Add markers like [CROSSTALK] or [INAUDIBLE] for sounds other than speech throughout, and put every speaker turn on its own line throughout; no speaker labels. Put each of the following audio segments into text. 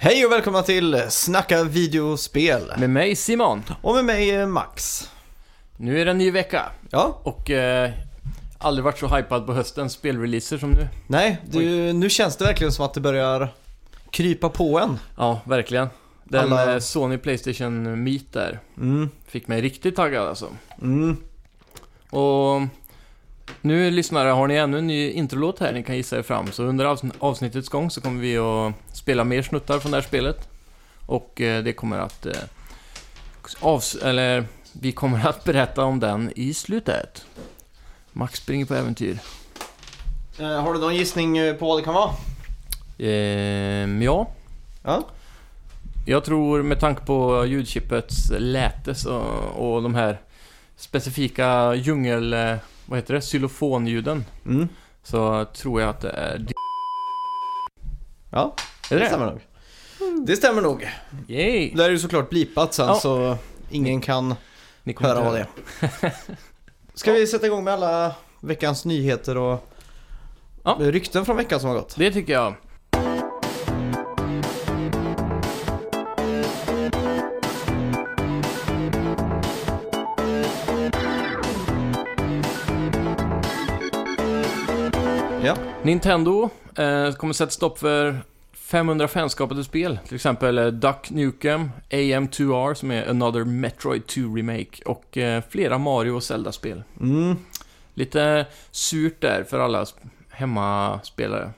Hej och välkomna till Snacka videospel.
Med mig Simon.
Och med mig eh, Max.
Nu är det en ny vecka
Ja,
och eh, aldrig varit så hypad på höstens spelreleaser som nu.
nej, du, nu känns det verkligen som att det börjar krypa på en.
Ja, verkligen. Den
Alla-
eh, Sony Playstation Meet där
Mm,
fick mig riktigt taggad alltså.
mm.
Och nu lyssnare, har ni ännu en ny introlåt här ni kan gissa er fram. Så under avsn- avsnittets gång så kommer vi att spela mer snuttar från det här spelet. Och eh, det kommer att... Eh, avs- eller, vi kommer att berätta om den i slutet. Max springer på äventyr.
Eh, har du någon gissning eh, på vad det kan vara?
Ehm, ja.
Ja.
Jag tror med tanke på ljudchippets läte så, och de här specifika djungel... eh, Vad heter det? Xylofonljuden.
Mm.
Så tror jag att det är... d-
Ja,
Är
det stämmer nog. Mm. Det stämmer nog.
Yay!
Det här är ju såklart blipat sen
Ja.
så ingen kan
Ni kommer
höra
inte
vad det är. [LAUGHS] Ska vi sätta igång med alla veckans nyheter och
Ja.
rykten från veckan som har gått?
Det tycker jag.
Ja.
Nintendo eh, kommer sätta stopp för 500 fanskapade spel. Till exempel eh, Duck Nukem, AM2R som är Another Metroid 2 Remake och eh, flera Mario och Zelda-spel.
Mm.
Lite surt där för alla sp- hemmaspelare.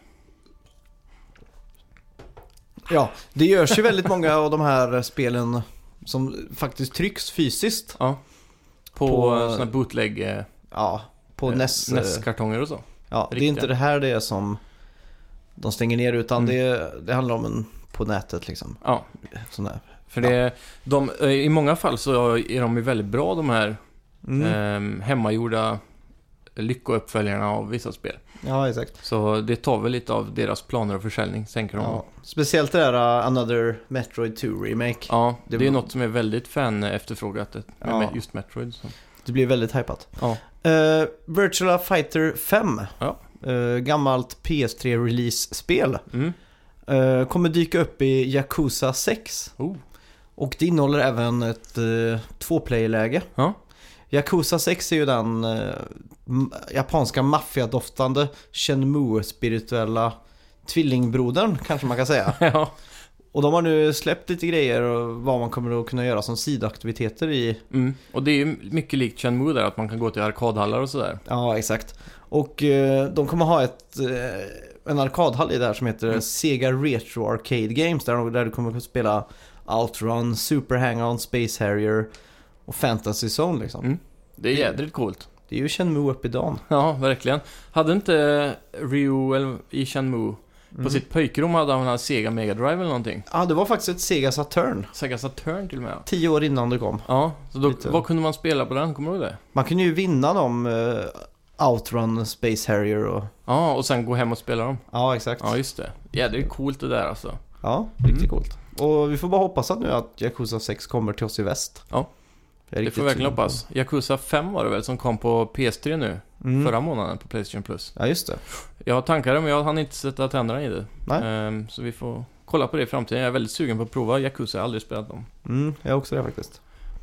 Ja, det görs ju väldigt många av de här spelen som faktiskt trycks fysiskt.
Ja. På,
På-
på såna bootleg eh,
Ja, på
eh,
NES. eh,
NES-kartonger och så.
Ja, det är
riktiga.
inte det här det är som de stänger ner utan
Mm.
det, det handlar om en på nätet liksom.
Ja.
Sån där.
För det, de, eh, i många fall så är de ju väldigt bra de här
Mm.
eh, hemmagjorda lyckouppföljarna av vissa spel.
Ja, exakt.
Så det tar väl lite av deras planer och försäljning, tänker de. Ja,
Ja. Speciellt det där uh, Another Metroid 2 Remake.
det,
Det-
är något som är väldigt fan efterfrågat med
Ja.
med just Metroid. Så.
Det blir väldigt hypat.
Ja.
Eh, Virtua Fighter 5.
Ja.
Eh, gammalt PS3-release-spel.
Mm. [LAUGHS]
Eh, kommer dyka upp i Yakuza 6.
Oh.
Och det innehåller även ett uh, tvåplayer-läge.
Ja.
Yakuza 6 är ju den eh, m- japanska maffiadoftande Shenmue-spirituella tvillingbrodern kanske man kan säga.
ja.
Och de har nu släppt lite grejer och vad man kommer att kunna göra som sidoaktiviteter i
Mm. Och det är ju mycket likt Chenmu där, att man kan gå till arkadhallar och sådär.
Ja, exakt. Och eh, de kommer ha ett, eh, en arkadhall i det här som heter
Mm.
Sega Retro Arcade Games. Där, de- där du kommer att spela Outrun, Super Hang-On, Space Harrier och Fantasy Zone liksom.
Mm. Det är
Det-
jädrigt coolt.
Det är ju Shenmue upp i dagen.
Ja, verkligen. Hade inte Ryu eller, i Chenmu på sitt pojkrum hade han en Sega Mega Drive eller någonting?
Mm. Ja, det var faktiskt ett Sega Saturn.
Sega Saturn till och med. ja.
Tio år innan det kom.
Ja, så då,
Lite.
vad kunde man spela på den? Kommer du ihåg det?
Man kunde ju vinna dem eh, Outrun, Space Harrier och...
Ja, och sen gå hem och spela dem.
Ja, exakt.
Ja, just det. Ja, det är coolt det där alltså.
Ja, riktigt coolt. Och vi får bara hoppas att nu att Yakuza 6 kommer till oss i väst.
Ja.
Jag är
Det
riktigt
får vi verkligen
sugen på
hoppas. Yakuza 5 var det väl som kom på PS3 nu?
det. Mm.
Förra månaden på Playstation Plus.
Ja, just det.
Jag har tankar men jag hann inte sätta tänderna i det.
Nej.
Ehm, så vi får kolla på det i framtiden. Jag är väldigt sugen på att prova Yakuza, jag har aldrig spelat dem.
Mm, jag också det faktiskt.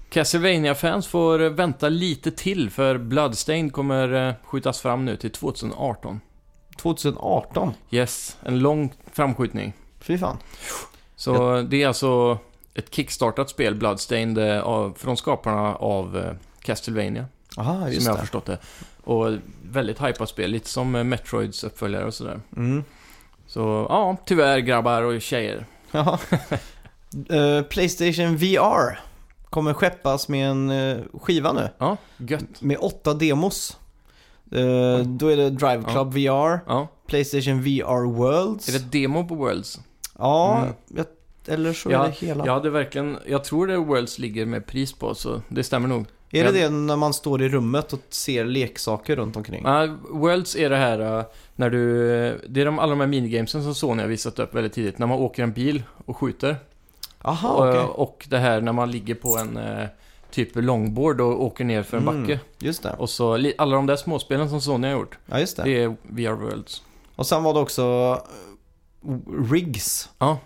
castlevania fans får eh, vänta lite till för Bloodstained kommer eh, skjutas fram nu till 2018.
2018?
Yes, en lång framskjutning.
Fy fan.
Så det är alltså ett kickstartat spel, Bloodstained, eh, av, från skaparna av eh, Castlevania.
Aha,
som
just
jag har
det.
förstått det. Och väldigt hypat spel, lite som eh, Metroids uppföljare och sådär. [LAUGHS]
Mm.
Så ja,
[LAUGHS]
tyvärr grabbar och tjejer.
Jaha. Eh, Playstation VR kommer skeppas med en eh, skiva nu.
Ja, gött. Mm.
Med åtta demos. Eh, Då är det Drive Club VR,
Ja.
Playstation VR Worlds.
Är det ett demo på Worlds?
Ja,
Mm.
jag, eller så
Ja,
är det hela.
Jag hade verkligen, jag tror det Worlds ligger med pris på, så det stämmer nog.
Är det det när man står i rummet och ser leksaker runt omkring?
Nej, Worlds är det här eh, när du... eh, Det är de, alla de här minigamesen som Sony har visat upp väldigt tidigt. När man åker en bil och skjuter.
Aha,
Och,
okej.
eh, och det här när man ligger på en eh, typ longboard och åker ner för en
Mm.
backe.
Just det.
Och så li- alla de där småspelen som Sony har gjort.
Ja, just det.
Det är VR Worlds.
Och sen var det också eh, Rigs.
Ja.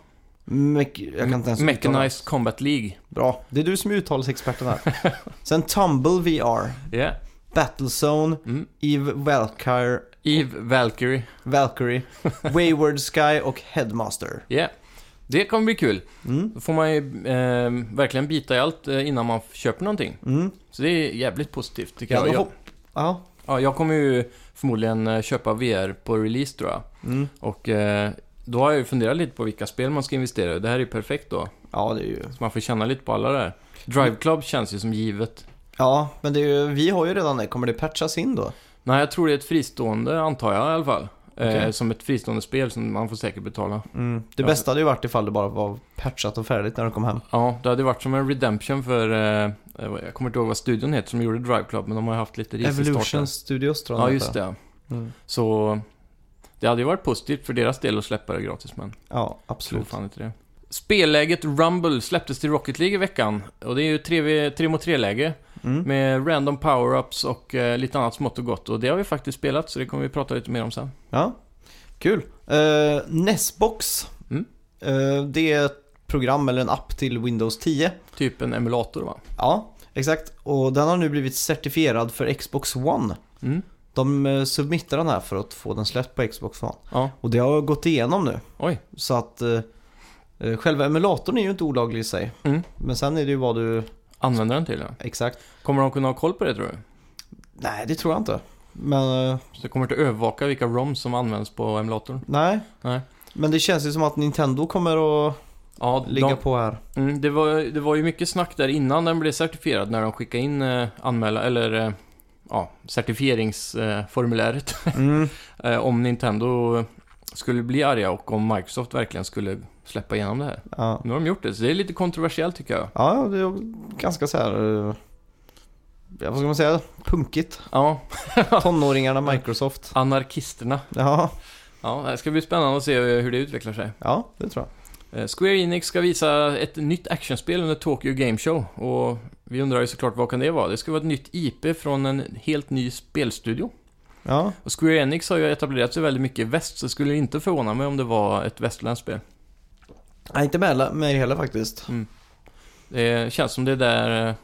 Mech- jag kan inte ens uttala.
Mechanized Combat League.
Bra. Det är du som är uttalsexperten här.
[LAUGHS]
sen Tumble VR,
Yeah.
Battlezone,
Mm.
Eve Valkyrie,
Eve Valkyrie.
Valkyrie Wayward Sky och Headmaster.
Yeah. Det kommer bli kul.
Mm.
Då får man ju eh, verkligen bita i allt eh, innan man köper någonting.
Mm.
Så det är jävligt positivt tycker
Ja,
jag.
då
jag.
hopp- ja.
Ja, jag kommer ju förmodligen eh, köpa VR på release tror jag.
Mm.
Och eh, då har jag ju funderat lite på vilka spel man ska investera i. Det här är ju perfekt då.
ja, det är ju...
Så man får känna lite på alla där. Drive Club känns ju som givet.
Ja, men det är ju... vi har ju redan det. Kommer det patchas in då?
Nej, jag tror det är ett fristående, antar jag i alla fall. Eh,
Okej.
som ett fristående spel som man får säkert betala.
Mm. Det
Ja.
bästa hade ju varit ifall det bara var patchat och färdigt när de kom hem.
Ja, det hade varit som en redemption för... Eh, jag kommer inte ihåg vad studion heter som gjorde Drive Club, men de har ju haft lite risig start där.
Evolution Studios tror jag
Ja,
den
just
heter.
det.
Mm.
Så... Det hade ju varit positivt för deras del att släppa det gratis, men...
Ja,
Tror
absolut.
fan inte det. Spelläget Rumble släpptes till Rocket League i veckan. Och det är ju 3, 3 mot 3-läge
Mm.
med random power-ups och eh, lite annat smått och gott. Och det har vi faktiskt spelat, så det kommer vi prata lite mer om sen.
Ja, kul. Uh, Nesbox.
Mm.
Eh, det är ett program eller en app till Windows 10.
Typ en emulator va?
Ja, exakt. Och den har nu blivit certifierad för Xbox One.
Mm.
De uh, submittar den här för att få den släppt på Xbox One.
Ja,
Och det har gått igenom nu.
oj.
Så att eh, eh, själva emulatorn är ju inte olaglig i sig.
Mm.
Men sen är det ju vad du...
Använder den till ja.
Exakt.
Kommer de kunna ha koll på det tror du?
Nej, det tror jag inte. Men eh,
Så de kommer inte övervaka vilka ROMs som används på emulatorn?
nej.
Nej.
Men det känns ju som att Nintendo kommer att
Ja,
ligga
de,
på
[LAUGHS]
här.
mm, det, var, det var ju mycket snack där innan den blev certifierad när de skickade in eh, anmäla, eller eh, ja, certifieringsformuläret. [LAUGHS]
Mm.
Eh, om Nintendo skulle bli arga och om Microsoft verkligen skulle släppa igenom det här.
Ja.
Nu har de gjort det, så det är lite kontroversiellt tycker jag.
ja, det är ganska så här... eh, Ja, vad ska man säga? [LAUGHS] Punkigt.
Ja,
Tonåringarna Microsoft.
anarkisterna.
Ja,
Ja, det ska bli spännande att se eh, hur det utvecklar sig.
ja det tror jag.
Eh, Square Enix ska visa ett nytt actionspel under Tokyo Game Show och vi undrar ju såklart vad kan det vara? Det ska vara ett nytt IP från en helt ny spelstudio.
Ja,
Och Square Enix har ju etablerat sig väldigt mycket i väst, så det skulle inte förvåna mig om det var ett västerländskt spel.
Nej, inte med mig heller faktiskt.
Det känns som det är där eh,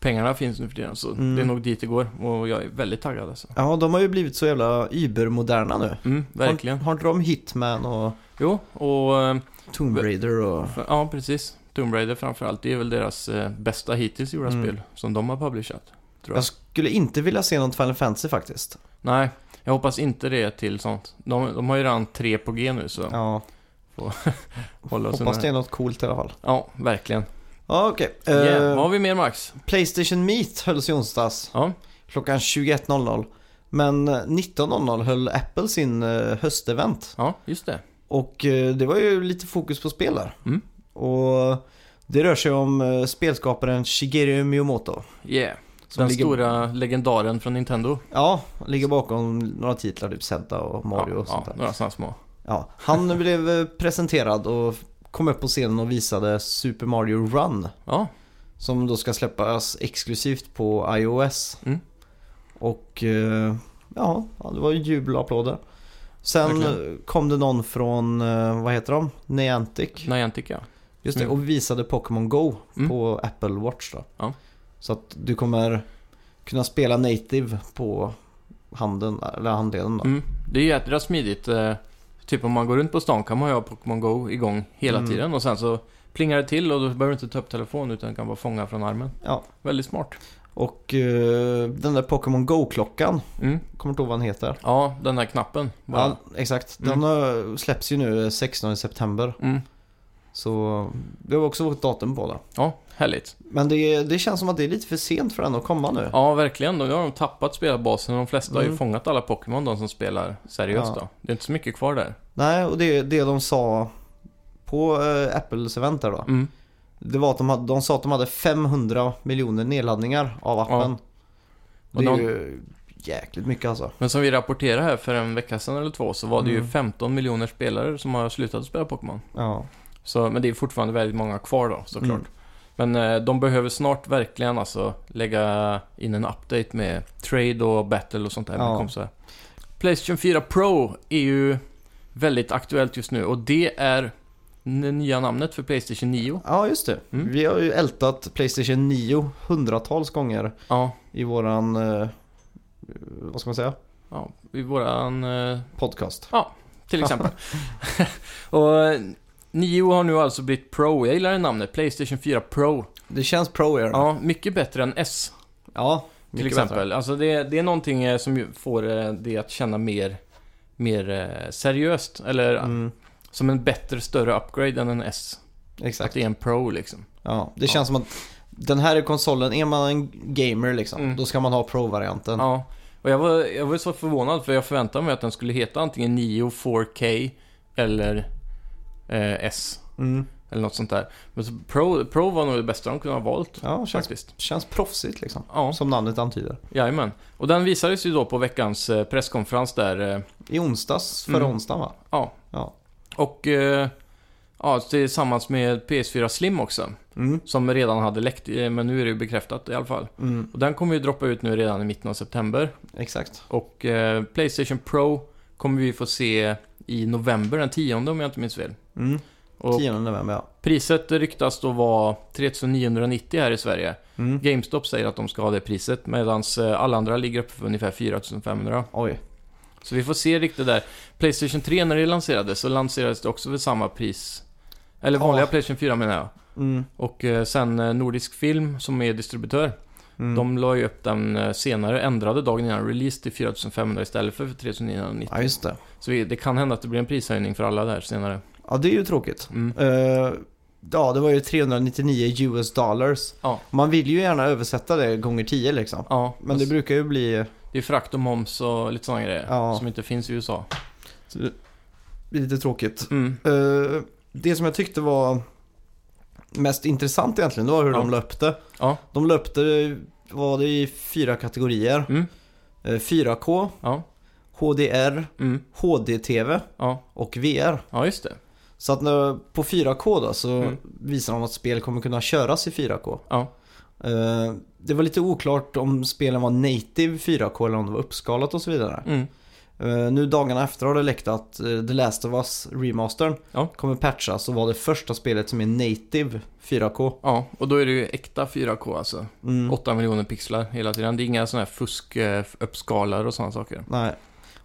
pengarna finns nu för tiden, så
Mm.
det är nog dit det går. Och jag är väldigt taggad alltså.
Ja, de har ju blivit så jävla übermoderna nu.
Mm, verkligen.
Har, har inte de Hitman och
Jo, och... eh,
Tomb Raider och...
för- Ja, precis. Tomb Raider framförallt, det är väl deras eh, bästa hittills gjorda
Mm.
spel som de har publicerat. Bra.
Jag skulle inte vilja se något Final Fantasy faktiskt.
Nej, jag hoppas inte det är till sånt. De, de har ju redan tre på G nu, så
Ja,
håll oss
hoppas det
undan.
är något coolt i alla fall.
Ja, verkligen.
Ja, okej.
Yeah.
Eh,
Vad har vi mer, Max?
Playstation Meet hölls i onsdags.
Ja,
Klockan 21.00. Men eh, 19.00 höll Apple sin eh, höstevent.
ja just det.
Och eh, det var ju lite fokus på spel där.
Mm.
Och det rör sig om eh, spelskaparen Shigeru Miyamoto.
Yeah.
Som
Den
ligger-
stora legendaren från Nintendo.
Ja, ligger bakom några titlar, typ Zelda och Mario
ja,
och sånt
ja,
där.
några sådana små.
Ja, han blev eh, presenterad och kom upp på scenen och visade Super Mario Run.
Ja,
Som då ska släppas exklusivt på iOS.
Mm.
Och eh, ja, ja, det var ju jubel och applåder. Sen
Verkligen.
eh, kom det någon från, eh, vad heter de? Niantic.
Niantic ja.
Just det,
Mm.
och visade Pokémon Go
Mm.
på Apple Watch då.
Ja.
Så att du kommer kunna spela native på handen, eller handleden då.
Mm. Det är ju jädra smidigt. eh, Typ om man går runt på stan kan man ju ha Pokémon Go igång hela
Mm.
tiden och sen så plingar det till och då behöver du inte ta upp telefonen utan kan bara fånga från armen.
Ja.
Väldigt smart.
Och eh, den där Pokémon Go-klockan,
Mm.
kommer inte ihåg vad den heter.
Ja, den där knappen. Bara.
Ja, exakt. Den eh, släpps ju nu 16 eh, september.
Mm.
Så vi har också fått datum på det.
Ja, härligt.
Men det, det känns som att det är lite för sent för den att komma nu.
Ja, verkligen. Nu har de tappat spelarbasen. De flesta har ju
Mm.
fångat alla Pokémon, de som spelar seriöst
Ja.
då. Det är inte så mycket kvar där.
Nej, och det, det de sa på eh, Apples event där då.
Mm.
Det var att de, hade, de sa att de hade 500 miljoner nedladdningar av appen.
Och
Det är
de-
ju jäkligt mycket alltså.
Men som vi rapporterade här för en vecka sedan eller två så var det ju
Mm.
15 miljoner spelare som har slutat spela Pokémon.
Ja.
Så, men det är fortfarande väldigt många kvar då såklart.
Mm.
Men eh, de behöver snart verkligen alltså lägga in en update med trade och battle och sånt där med
Ja.
kompisar. Playstation 4 Pro är ju väldigt aktuellt just nu och det är det nya namnet för Playstation 9.
ja, just det.
Mm.
Vi har ju ältat Playstation 9 hundratals gånger
Ja,
i våran, eh, vad ska man säga,
ja i våran... Eh,
podcast.
till [LAUGHS] exempel. och eh, 9 har nu alltså blivit Pro. Jag gillar det namnet, Playstation 4 Pro.
Det känns pro era.
Ja, mycket bättre än S
ja
Till
mycket
exempel.
bättre.
Alltså det, det är någonting eh, som ju får eh, det att känna mer, mer eh, seriöst. Eller eh,
Mm,
som en bättre, större upgrade än en S. Att
exakt. Mm.
det är en Pro liksom.
Ja, det
Ja.
känns som att den här konsolen, är man en gamer liksom,
Mm.
då ska man ha pro-varianten.
Ja. Och jag var, jag var så förvånad för jag förväntade mig att den skulle heta antingen 9 4K eller eh, S.
Mm.
Eller något sånt där. Men så Pro, Pro var nog det bästa de kunde ha valt.
Ja, känns,
Faktiskt.
känns proffsigt liksom.
Ja,
Som namnet antyder.
jajamän. Och den visades ju då på veckans eh, presskonferens där eh,
I onsdags, förra
Mm.
onsdagen va?
Ja.
Ja.
Och eh, ja, tillsammans med PS4 Slim också.
Mm.
Som redan hade läckt, eh, men nu är det ju bekräftat i alla fall.
Mm.
Och den kommer ju droppa ut nu redan i mitten av september.
Exakt.
Och eh, Playstation Pro kommer vi få se i november, den 10 om jag inte minns fel.
Mm.
Och
10 november ja.
priset ryktas då vara 3990 här i Sverige.
Mm.
GameStop säger att de ska ha det priset, medan alla andra ligger uppe för ungefär 4500.
Oj.
Så vi får se riktigt där. Playstation 3 när det lanserades så lanserades det också för samma pris. Eller vanliga
Ja.
Playstation 4 menar jag.
Mm.
Och eh, sen eh, Nordisk Film som är distributör.
Mm.
De la ju upp den eh, senare, ändrade dagen innan release till 4500 istället för 3990.
Ja just det.
Så vi- det kan hända att det blir en prishöjning för alla där senare.
Ja det är ju tråkigt.
Mm.
Eh, ja det var ju 399 US dollars.
Ja.
Man vill ju gärna översätta det gånger 10 liksom.
Ja,
Men det brukar ju bli
det är frakt och moms och lite sådana grejer
Ja.
som inte finns i USA.
lite tråkigt.
Mm.
Eh, det som jag tyckte var mest intressant egentligen, det var hur
Ja.
de löpte.
Ja.
De löpte, var det i fyra kategorier.
Mm.
Eh, 4K,
Ja.
HDR,
Mm.
HD-TV
Ja.
och VR.
ja, just det.
Så att när, på 4K då så
Mm.
visar de att spel kommer kunna köras i 4K.
Ja.
Eh, det var lite oklart om spelen var native 4K eller om det var uppskalat och så vidare.
Mm.
Eh, nu dagarna efter har det läckt att eh, The Last of Us remastern
Ja.
kommer patchas och vara det första spelet som är native 4K.
Ja, och då är det ju äkta 4K alltså.
Mm.
8 miljoner pixlar hela tiden. Det är inga sådana här fuskuppskalare och sådana saker.
Nej.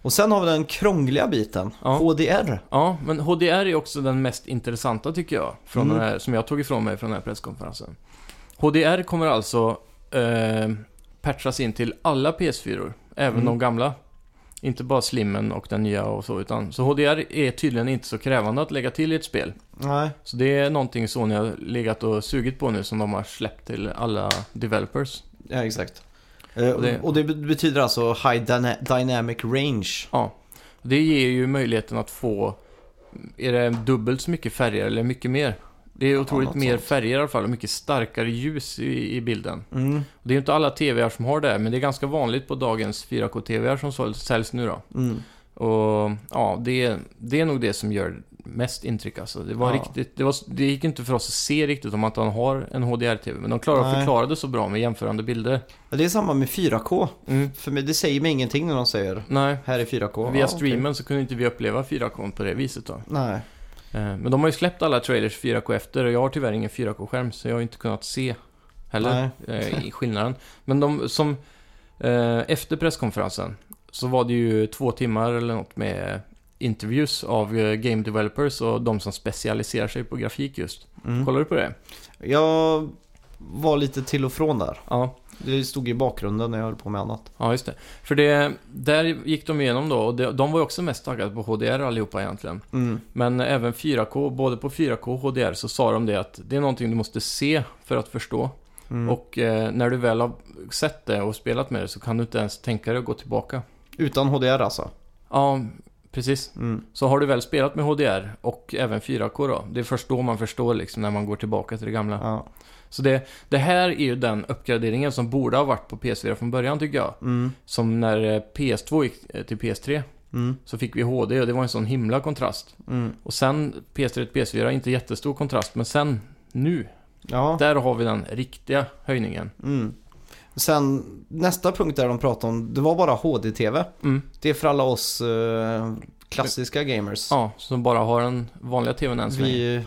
Och sen har vi den krångliga biten,
Ja.
HDR.
Ja, men HDR är också den mest intressanta tycker jag, från
Mm.
den här, som jag tog ifrån mig från den här presskonferensen. HDR kommer alltså eh, patchas in till alla PS4, även
Mm.
de gamla. Inte bara slimmen och den nya och så, utan så HDR är tydligen inte så krävande att lägga till i ett spel.
Nej.
Så det är någonting Sony har legat och sugit på nu som de har släppt till alla developers.
Ja, exakt. Eh,
Och det-
och det betyder alltså High dyna- Dynamic Range.
Det ger ju möjligheten att få, är det dubbelt så mycket färger eller mycket mer? Det är otroligt
något
mer
sånt.
färger i alla fall och mycket starkare ljus i, i bilden.
Mm.
Det är ju inte alla TVR som har det, men det är ganska vanligt på dagens 4K-TVR som sål- säljs nu då.
Mm.
Och ja, det, det är nog det som gör mest intryck alltså. Det var
Ja.
riktigt, det, var, det gick inte för oss att se riktigt om att han har en HDR-TV, men de klarade,
Nej.
förklarade så bra med jämförande bilder.
Ja, Det är samma med 4K.
Mm.
För mig, det säger mig ingenting när de säger
Nej,
här är 4K.
via
Ja,
streamen så kunde inte vi uppleva 4K på det viset då.
okej. Nej.
Eh, Men de har ju släppt alla trailers 4K efter och jag har tyvärr ingen 4K-skärm så jag har inte kunnat se heller eh, i skillnaden. Men de som... Eh, efter presskonferensen så var det ju två timmar eller något med interviews av eh, game developers och de som specialiserar sig på grafik just.
Mm.
Kollar du på det?
Jag var lite till och från där.
Ja.
Det stod i bakgrunden när jag höll på med annat.
Ja, just det. För det, där gick de igenom då och det, de var ju också mest taggade på HDR allihopa egentligen.
Mm.
Men även 4K, både på 4K och HDR så sa de det att det är någonting du måste se för att förstå.
Mm.
Och eh, när du väl har sett det och spelat med det så kan du inte ens tänka dig att gå tillbaka.
Utan HDR alltså.
Ja, precis.
Mm.
Så har du väl spelat med HDR och även 4K då, det är först då man förstår liksom när man går tillbaka till det gamla.
Ja.
Så det, det här är ju den uppgraderingen som borde ha varit på PS4 från början tycker jag.
Mm.
Som när eh, PS2 gick eh, till PS3
Mm.
så fick vi HD och det var en sån himla kontrast.
Mm.
Och sen PS3 till PS4, inte jättestor kontrast, men sen nu,
Ja.
där har vi den riktiga höjningen.
Mm. Sen nästa punkt där de pratade om, det var bara HD-TV.
Mm.
Det är för alla oss eh, klassiska gamers.
Ja, som bara har den vanliga TVn än så länge.
Vi,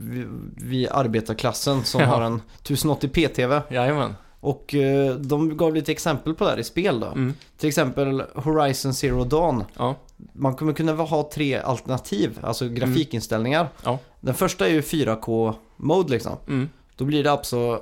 vi, vi arbetarklassen som
Ja.
har en 1080p-TV.
Jajamän.
Och eh, de gav lite exempel på det här i spel då.
Mm.
Till exempel Horizon Zero Dawn.
Ja. Mm.
Man kommer kunna ha tre alternativ, alltså grafikinställningar.
Ja.
Den första är ju 4K-mode liksom.
Mm.
Då blir det alltså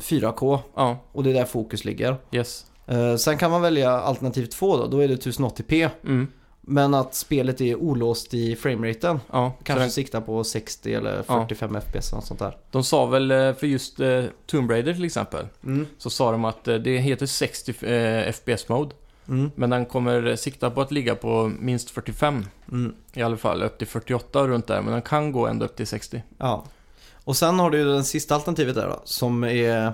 4K
Ja.
och det är där fokus ligger.
Yes.
Eh, sen kan man välja alternativ 2 då, då är det 1080p.
Mm.
Men att spelet är olåst i frameraten.
Ja. Så
Kanske
den-
siktar på 60 eller 45 FPS och sånt där.
De sa väl eh, för just eh, Tomb Raider till exempel,
Mm.
så sa de att eh, det heter 60 eh, FPS mode,
Mm.
men den kommer eh, sikta på att ligga på minst 45
Mm.
i alla fall, upp till 48 runt där, men den kan gå ända upp till 60.
Ja. Och sen har du ju det sista alternativet där då, som är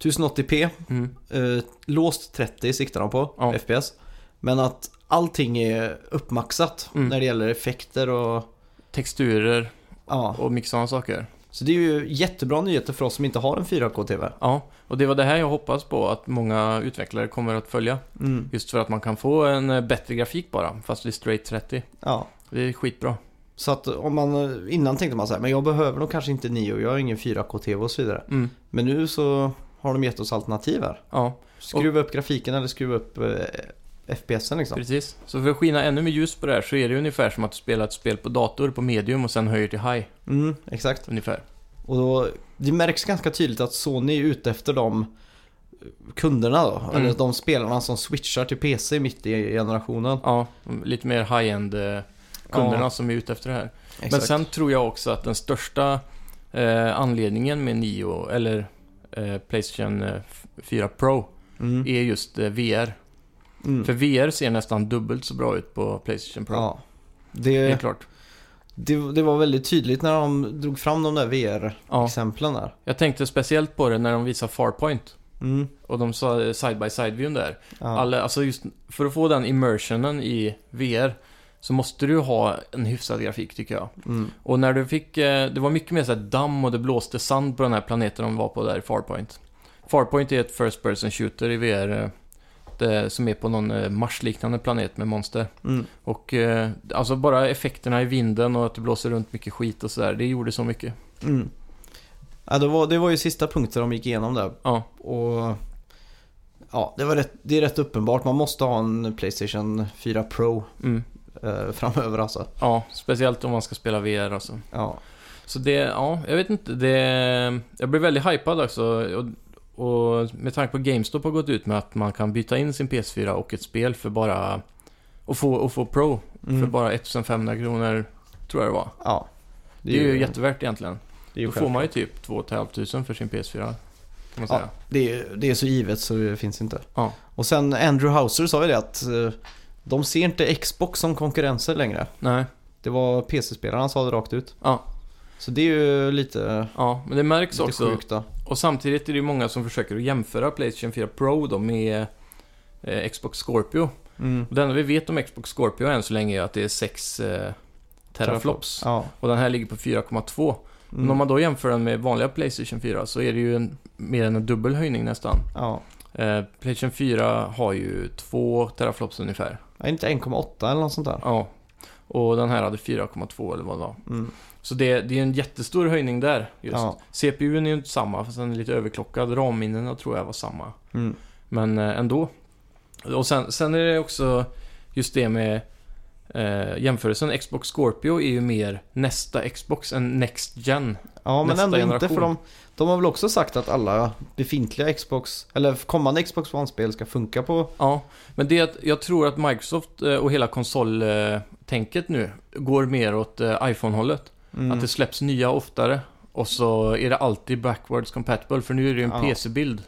1080p.
Mm.
Eh, låst 30 siktar de på,
Ja.
FPS. Men att allting är uppmaxat
Mm.
när det gäller effekter och
Texturer
ja.
och mycket sådana saker.
Så det är ju jättebra nyheter för oss som inte har en 4K-TV.
Ja, och det var det här jag hoppas på att många utvecklare kommer att följa.
Mm.
Just för att man kan få en eh, bättre grafik bara, fast vid straight 30.
Ja.
Det är skitbra.
Så att om man, innan tänkte man så här, men jag behöver nog kanske inte Nio, jag har ingen 4K-TV och så vidare.
Mm.
Men nu så har de gett oss alternativ här.
Ja,
Skruva upp grafiken eller skruva upp eh, FPSen liksom.
precis. Så för att skina ännu mer ljus på det här så är det ungefär som att du spelar ett spel på dator på medium och sen höjer till high.
Mm, exakt.
Ungefär.
Och då, det märks ganska tydligt att Sony är ute efter de kunderna då. Eller de spelarna som switchar till PC mitt i generationen.
Ja, lite mer high-end eh, kunderna
Ja.
som är ute efter det här.
Exakt.
Men sen tror jag också att den största eh, anledningen med Nio eller eh, Playstation eh, 4 Pro
Mm.
är just eh, VR.
Mm.
För VR ser nästan dubbelt så bra ut på Playstation Pro.
Ja.
Det är
Det,
klart.
det, det var väldigt tydligt när de drog fram de där
Ja.
VR-exemplen där.
Jag tänkte speciellt på det när de visade Farpoint.
Mm.
Och de sa eh, side-by-side-viewn där.
Ja.
Alla, alltså just för att få den immersionen i VR så måste du ha en hyfsad grafik tycker jag.
Mm.
Och när du fick, eh, det var mycket mer så här damm och det blåste sand på den här planeten de var på där i Farpoint. Farpoint är ett First Person Shooter i VR eh, det, som är på någon eh, Mars-liknande planet med monster.
Mm.
Och eh, alltså bara effekterna i vinden och att det blåser runt mycket skit och sådär, det gjorde så mycket.
Mm. Ja, det, var, det var ju sista punkten de gick igenom där.
Ja,
Och ja, det, var rätt, det är rätt uppenbart. Man måste ha en Playstation 4 Pro
mm.
eh, framöver alltså.
ja speciellt om man ska spela VR alltså.
Ja.
Så det, ja, jag vet inte, det... Jag blev väldigt hypad också. Och, och med tanke på GameStop har gått ut med att man kan byta in sin PS4 och ett spel för bara... Och få, och få Pro
Mm.
för bara 1500 kronor, tror jag det var.
Ja.
Det är, ju jättevärt egentligen.
Det är, ju
Då får man ju typ 2 500 för sin PS4. Kan man
Ja.
säga.
det, är, det är så givet så det finns inte.
Ja.
Och sen Andrew Houser sa ju det att eh, de ser inte Xbox som konkurrenser längre.
Nej,
Det var PC-spelarna som sa det rakt ut.
Ja.
Så det är ju lite,
ja, men det märks
lite
också.
sjukt då.
Och samtidigt är det ju många som försöker att jämföra Playstation 4 Pro då med eh, Xbox Scorpio.
Mm.
Och det enda vi vet om Xbox Scorpio än så länge är att det är 6 eh, teraflops.
Ja.
Och den här ligger på 4,2. Men
Mm.
om man då jämför den med vanliga Playstation 4 så är det ju en, mer än en dubbel höjning nästan.
ja.
Eh, Playstation 4 har ju 2 teraflops ungefär.
Ja, inte 1,8 eller något sånt där.
Ja. Och den här hade 4,2 eller vad det var.
Mm.
Så det, det är en jättestor höjning där just.
Ja.
CPUn är ju inte samma, fast den är lite överklockad. Ramminnena tror jag var samma.
Mm.
Men eh, ändå. Och sen, sen är det också just det med eh, eh, jämförelsen Xbox Scorpio är ju mer nästa Xbox än Next Gen.
Ja, men
Nästa
ändå inte
generation.
för de, de har väl också sagt att alla befintliga Xbox, eller kommande Xbox One-spel ska funka på...
Ja, men det är att jag tror att Microsoft eh, och hela konsoltänket nu går mer åt eh, iPhone-hållet.
Mm.
Att det släpps nya oftare och så är det alltid backwards compatible för nu är det ju en
Ja.
PC-bild.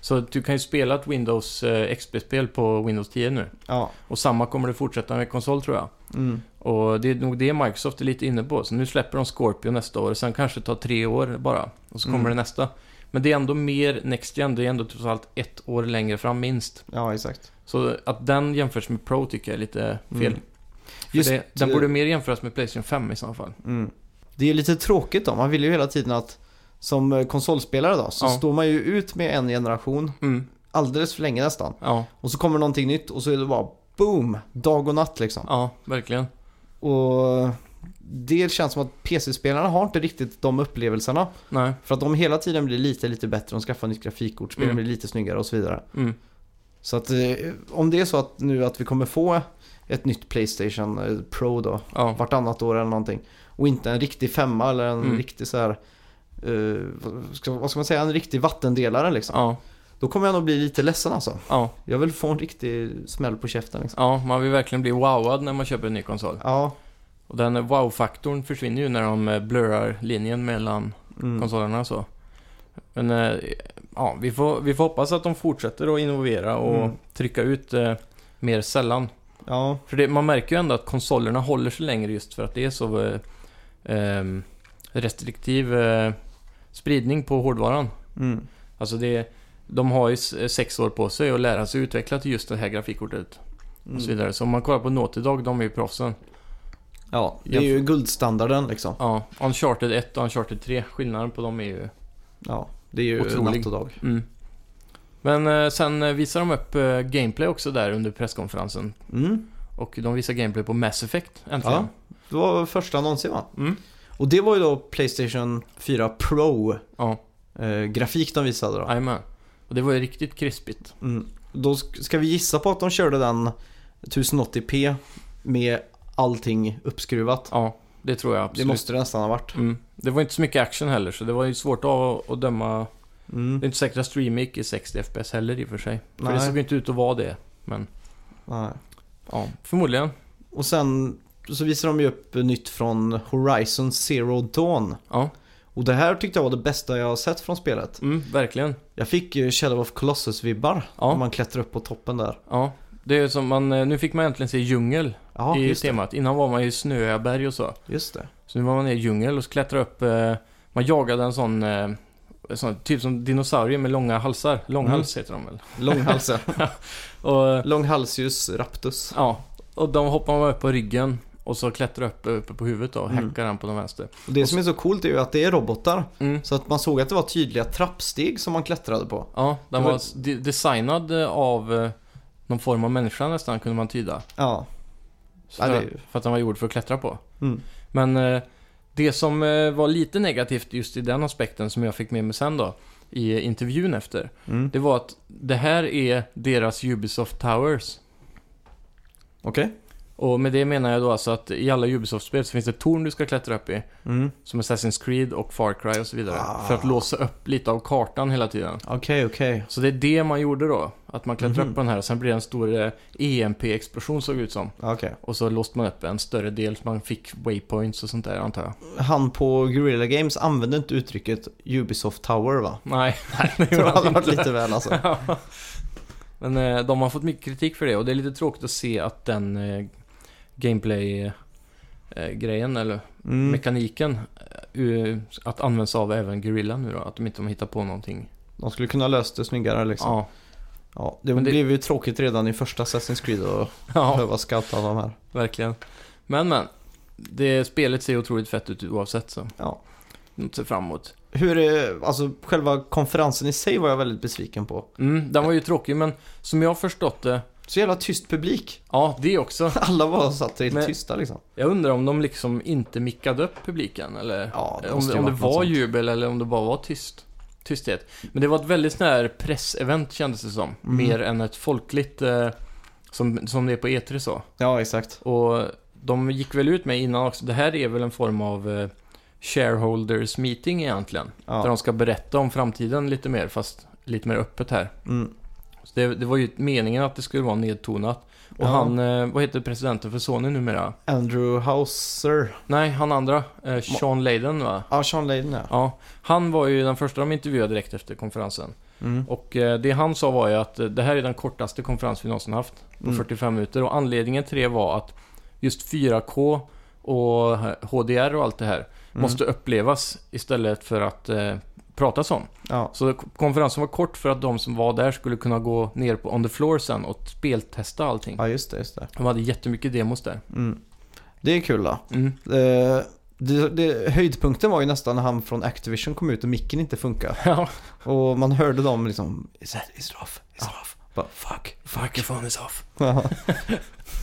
Så att du kan ju spela ett Windows eh, XP-spel på Windows 10 nu.
Ja.
Och samma kommer det fortsätta med konsol tror jag.
Mm.
Och det är nog det Microsoft är lite inne på. Så nu släpper de Scorpio nästa år, sen kanske det tar tre år bara. Och så kommer
Mm.
det nästa. Men det är ändå mer Next Gen, det är ändå trots allt ett år längre fram minst.
ja, exakt.
Så att den jämförs med Pro tycker jag är lite fel.
Mm.
För
Just
det, den
det-
borde mer jämföras med Playstation 5 i så fall.
Mm. Det är ju lite tråkigt då, man vill ju hela tiden att som eh, konsolspelare då, så
Ja.
står man ju ut med en generation
Mm,
alldeles för länge nästan.
ja,
Och så kommer någonting nytt och så är det bara boom, dag och natt liksom.
ja, verkligen.
Och det känns som att PC-spelarna har inte riktigt de upplevelserna.
Nej,
För att de hela tiden blir lite, lite bättre, de skaffar nytt grafikkort, spelen
Mm.
blir lite snyggare och så vidare.
mm,
Så att eh, om det är så att nu att vi kommer få ett nytt Playstation eh, Pro då,
ja,
vartannat år eller någonting. Och inte en riktig femma eller en
Mm.
riktig så här, eh, vad ska- vad ska man säga, en riktig vattendelare liksom.
ja,
Då kommer jag nog bli lite ledsen alltså.
ja,
Jag vill få en riktig smäll på käften liksom.
ja, man vill verkligen bli wowad när man köper en ny konsol.
Ja,
Och den wow-faktorn försvinner ju när de eh, blurrar linjen mellan
mm.
konsolerna och så. Men eh, ja, vi får, vi får hoppas att de fortsätter att innovera och
Mm.
trycka ut eh, mer sällan.
ja,
För det, man märker ju ändå att konsolerna håller sig längre just för att det är så eh, ehm, restriktiv eh, spridning på hårdvaran.
mm.
Alltså det, de har ju s- eh, sex år på sig att lära sig utveckla till just det här grafikkortet och så
Mm.
vidare. Så om man kollar på Naughty Dog, de är ju proffsen.
ja, det är ju guldstandarden liksom.
Ja, Uncharted 1 och Uncharted 3, skillnaden på dem är ju...
Ja, det är ju
Otrolig.
natt och dag.
Mm. Men eh, sen eh, visar de upp eh, gameplay också där under presskonferensen.
Mm.
Och de visar gameplay på Mass Effect äntligen.
Ja. Det var första någonsin va?
Mm.
Och det var ju då Playstation 4 Pro
Ja,
eh, grafik de visade då.
jajamän. Och det var ju riktigt krispigt.
Mm. Då sk- ska vi gissa på att de körde den 1080p med allting uppskruvat.
Ja, det tror jag
Det
absolut.
måste det nästan ha varit.
Mm. Det var inte så mycket action heller, så det var ju svårt att, att döma. Det är
Mm.
inte säkert att stream gick i 60 FPS heller i och för sig. För
Nej.
det såg ju inte ut att vara det. Men
Nej.
ja, förmodligen.
Och sen så visar de ju upp nytt från Horizon Zero Dawn.
Ja,
Och det här tyckte jag var det bästa jag har sett från spelet.
mm, verkligen.
Jag fick ju Shadow of Colossus-vibbar när
Ja,
man klättrar upp på toppen där.
ja. Det är ju som man, eh, nu fick man äntligen se djungel
Ja,
i
just det.
temat. Innan var man ju i snöiga berg och så.
Just det.
Så nu var man nere i djungeln och så klättrade upp. Eh, man jagade en sån, eh, sån typ som dinosaurie med långa halsar. Långhals
Mm.
heter de väl?
Långhalsen.
[LAUGHS] Och, eh,
Långhalsius raptus.
ja, och de hoppade man upp på ryggen och så klättrade upp eh, uppe på huvudet då, och
Mm.
hackade den på den vänster.
Och det som är så coolt är ju att det är robotar.
Mm.
Så att man såg att det var tydliga trappsteg som man klättrade på.
Ja, den
Det var-
var de- designad eh, av eh, någon form av människa nästan, kunde man tyda.
Ja.
Så
Ja, det är
för,
ju-
för att den var gjord för att klättra på.
Mm.
Men eh, det som eh, var lite negativt just i den aspekten som jag fick med mig sen då, i intervjun efter.
Mm.
Det var att det här är deras Ubisoft Towers.
Okej.
Och med det menar jag då alltså att i alla Ubisoft-spel så finns det ett torn du ska klättra upp i.
Mm.
Som Assassin's Creed och Far Cry och så vidare.
Ah.
För att låsa upp lite av kartan hela tiden.
Okej, okej.
Så det är det man gjorde då. Att man klättrade
Mhm.
upp på den här och sen blev det en stor eh, EMP-explosion såg det ut som.
Ah, Okej.
Och så låste man upp en större del så man fick waypoints och sånt där antar jag.
Han på Guerrilla Games använde inte uttrycket Ubisoft Tower
[LAUGHS]
va?
Nej, nej det
Det
gjorde
hade
han
varit
inte.
lite väl alltså.
[LAUGHS] Ja. Men eh, de har fått mycket kritik för det och det är lite tråkigt att se att den eh, gameplay-grejen eller
Mm.
mekaniken eh, eh, att används av även Guerrilla nu då. Att de inte hittar på någonting.
De skulle kunna löst det snyggare liksom. Ja.
Ja. [LAUGHS]
det,
Men det-
blev ju tråkigt redan i första Assassin's Creed att
ja,
behöva scouta de här.
verkligen. Men men. Det spelet ser otroligt fett ut oavsett så.
Ja.
Något att se fram emot.
Hur är, alltså själva konferensen i sig var jag väldigt besviken på.
Mm, den var ju tråkig men som jag har förstått det.
Så jävla tyst publik. [LAUGHS]
Ja, det också.
Alla var satt helt
Men-
tysta liksom.
Jag undrar om de liksom inte mickade upp publiken eller
Ja, det
om,
måste ju
det- om det
varit något
var
sånt.
jubel eller om det bara var tyst. Tysthet. Men det var ett väldigt sån här pressevent kändes det som.
Mm.
Mer än ett folkligt eh, som, som det är på E3 så.
Ja, exakt.
Och de gick väl ut med innan också, det här är väl en form av eh, shareholders meeting egentligen. Där
Ja.
de ska berätta om framtiden lite mer, fast lite mer öppet här.
Mm.
Så det, det var ju meningen att det skulle vara nedtonat. Och
Ja.
han, eh, vad heter presidenten för Sony numera?
Andrew Hauser.
Nej, han andra. Eh, Sean Layden va?
Ja, Sean Layden ja.
Ja, han var ju den första de intervjuade direkt efter konferensen.
Mm.
Och eh, det han sa var ju att eh, det här är den kortaste konferens vi någonsin haft. på
Mm.
45 minuter. Och anledningen till det var att just 4K och HDR och allt det här
Mm.
måste upplevas istället för att eh, pratas om.
Ja.
Så konferensen var kort för att de som var där skulle kunna gå ner på on the floor sen och speltesta allting.
ja, just det. Just det.
De hade jättemycket demos där.
Mm. Det är kul då.
Mm. [LAUGHS]
Eh, det, det, höjdpunkten var ju nästan när han från Activision kom ut och micken inte funkade.
Ja.
Och man hörde dem liksom Is that, is it off? Is it off? Bara, fuck.
Fuck, your phone is off. [LAUGHS]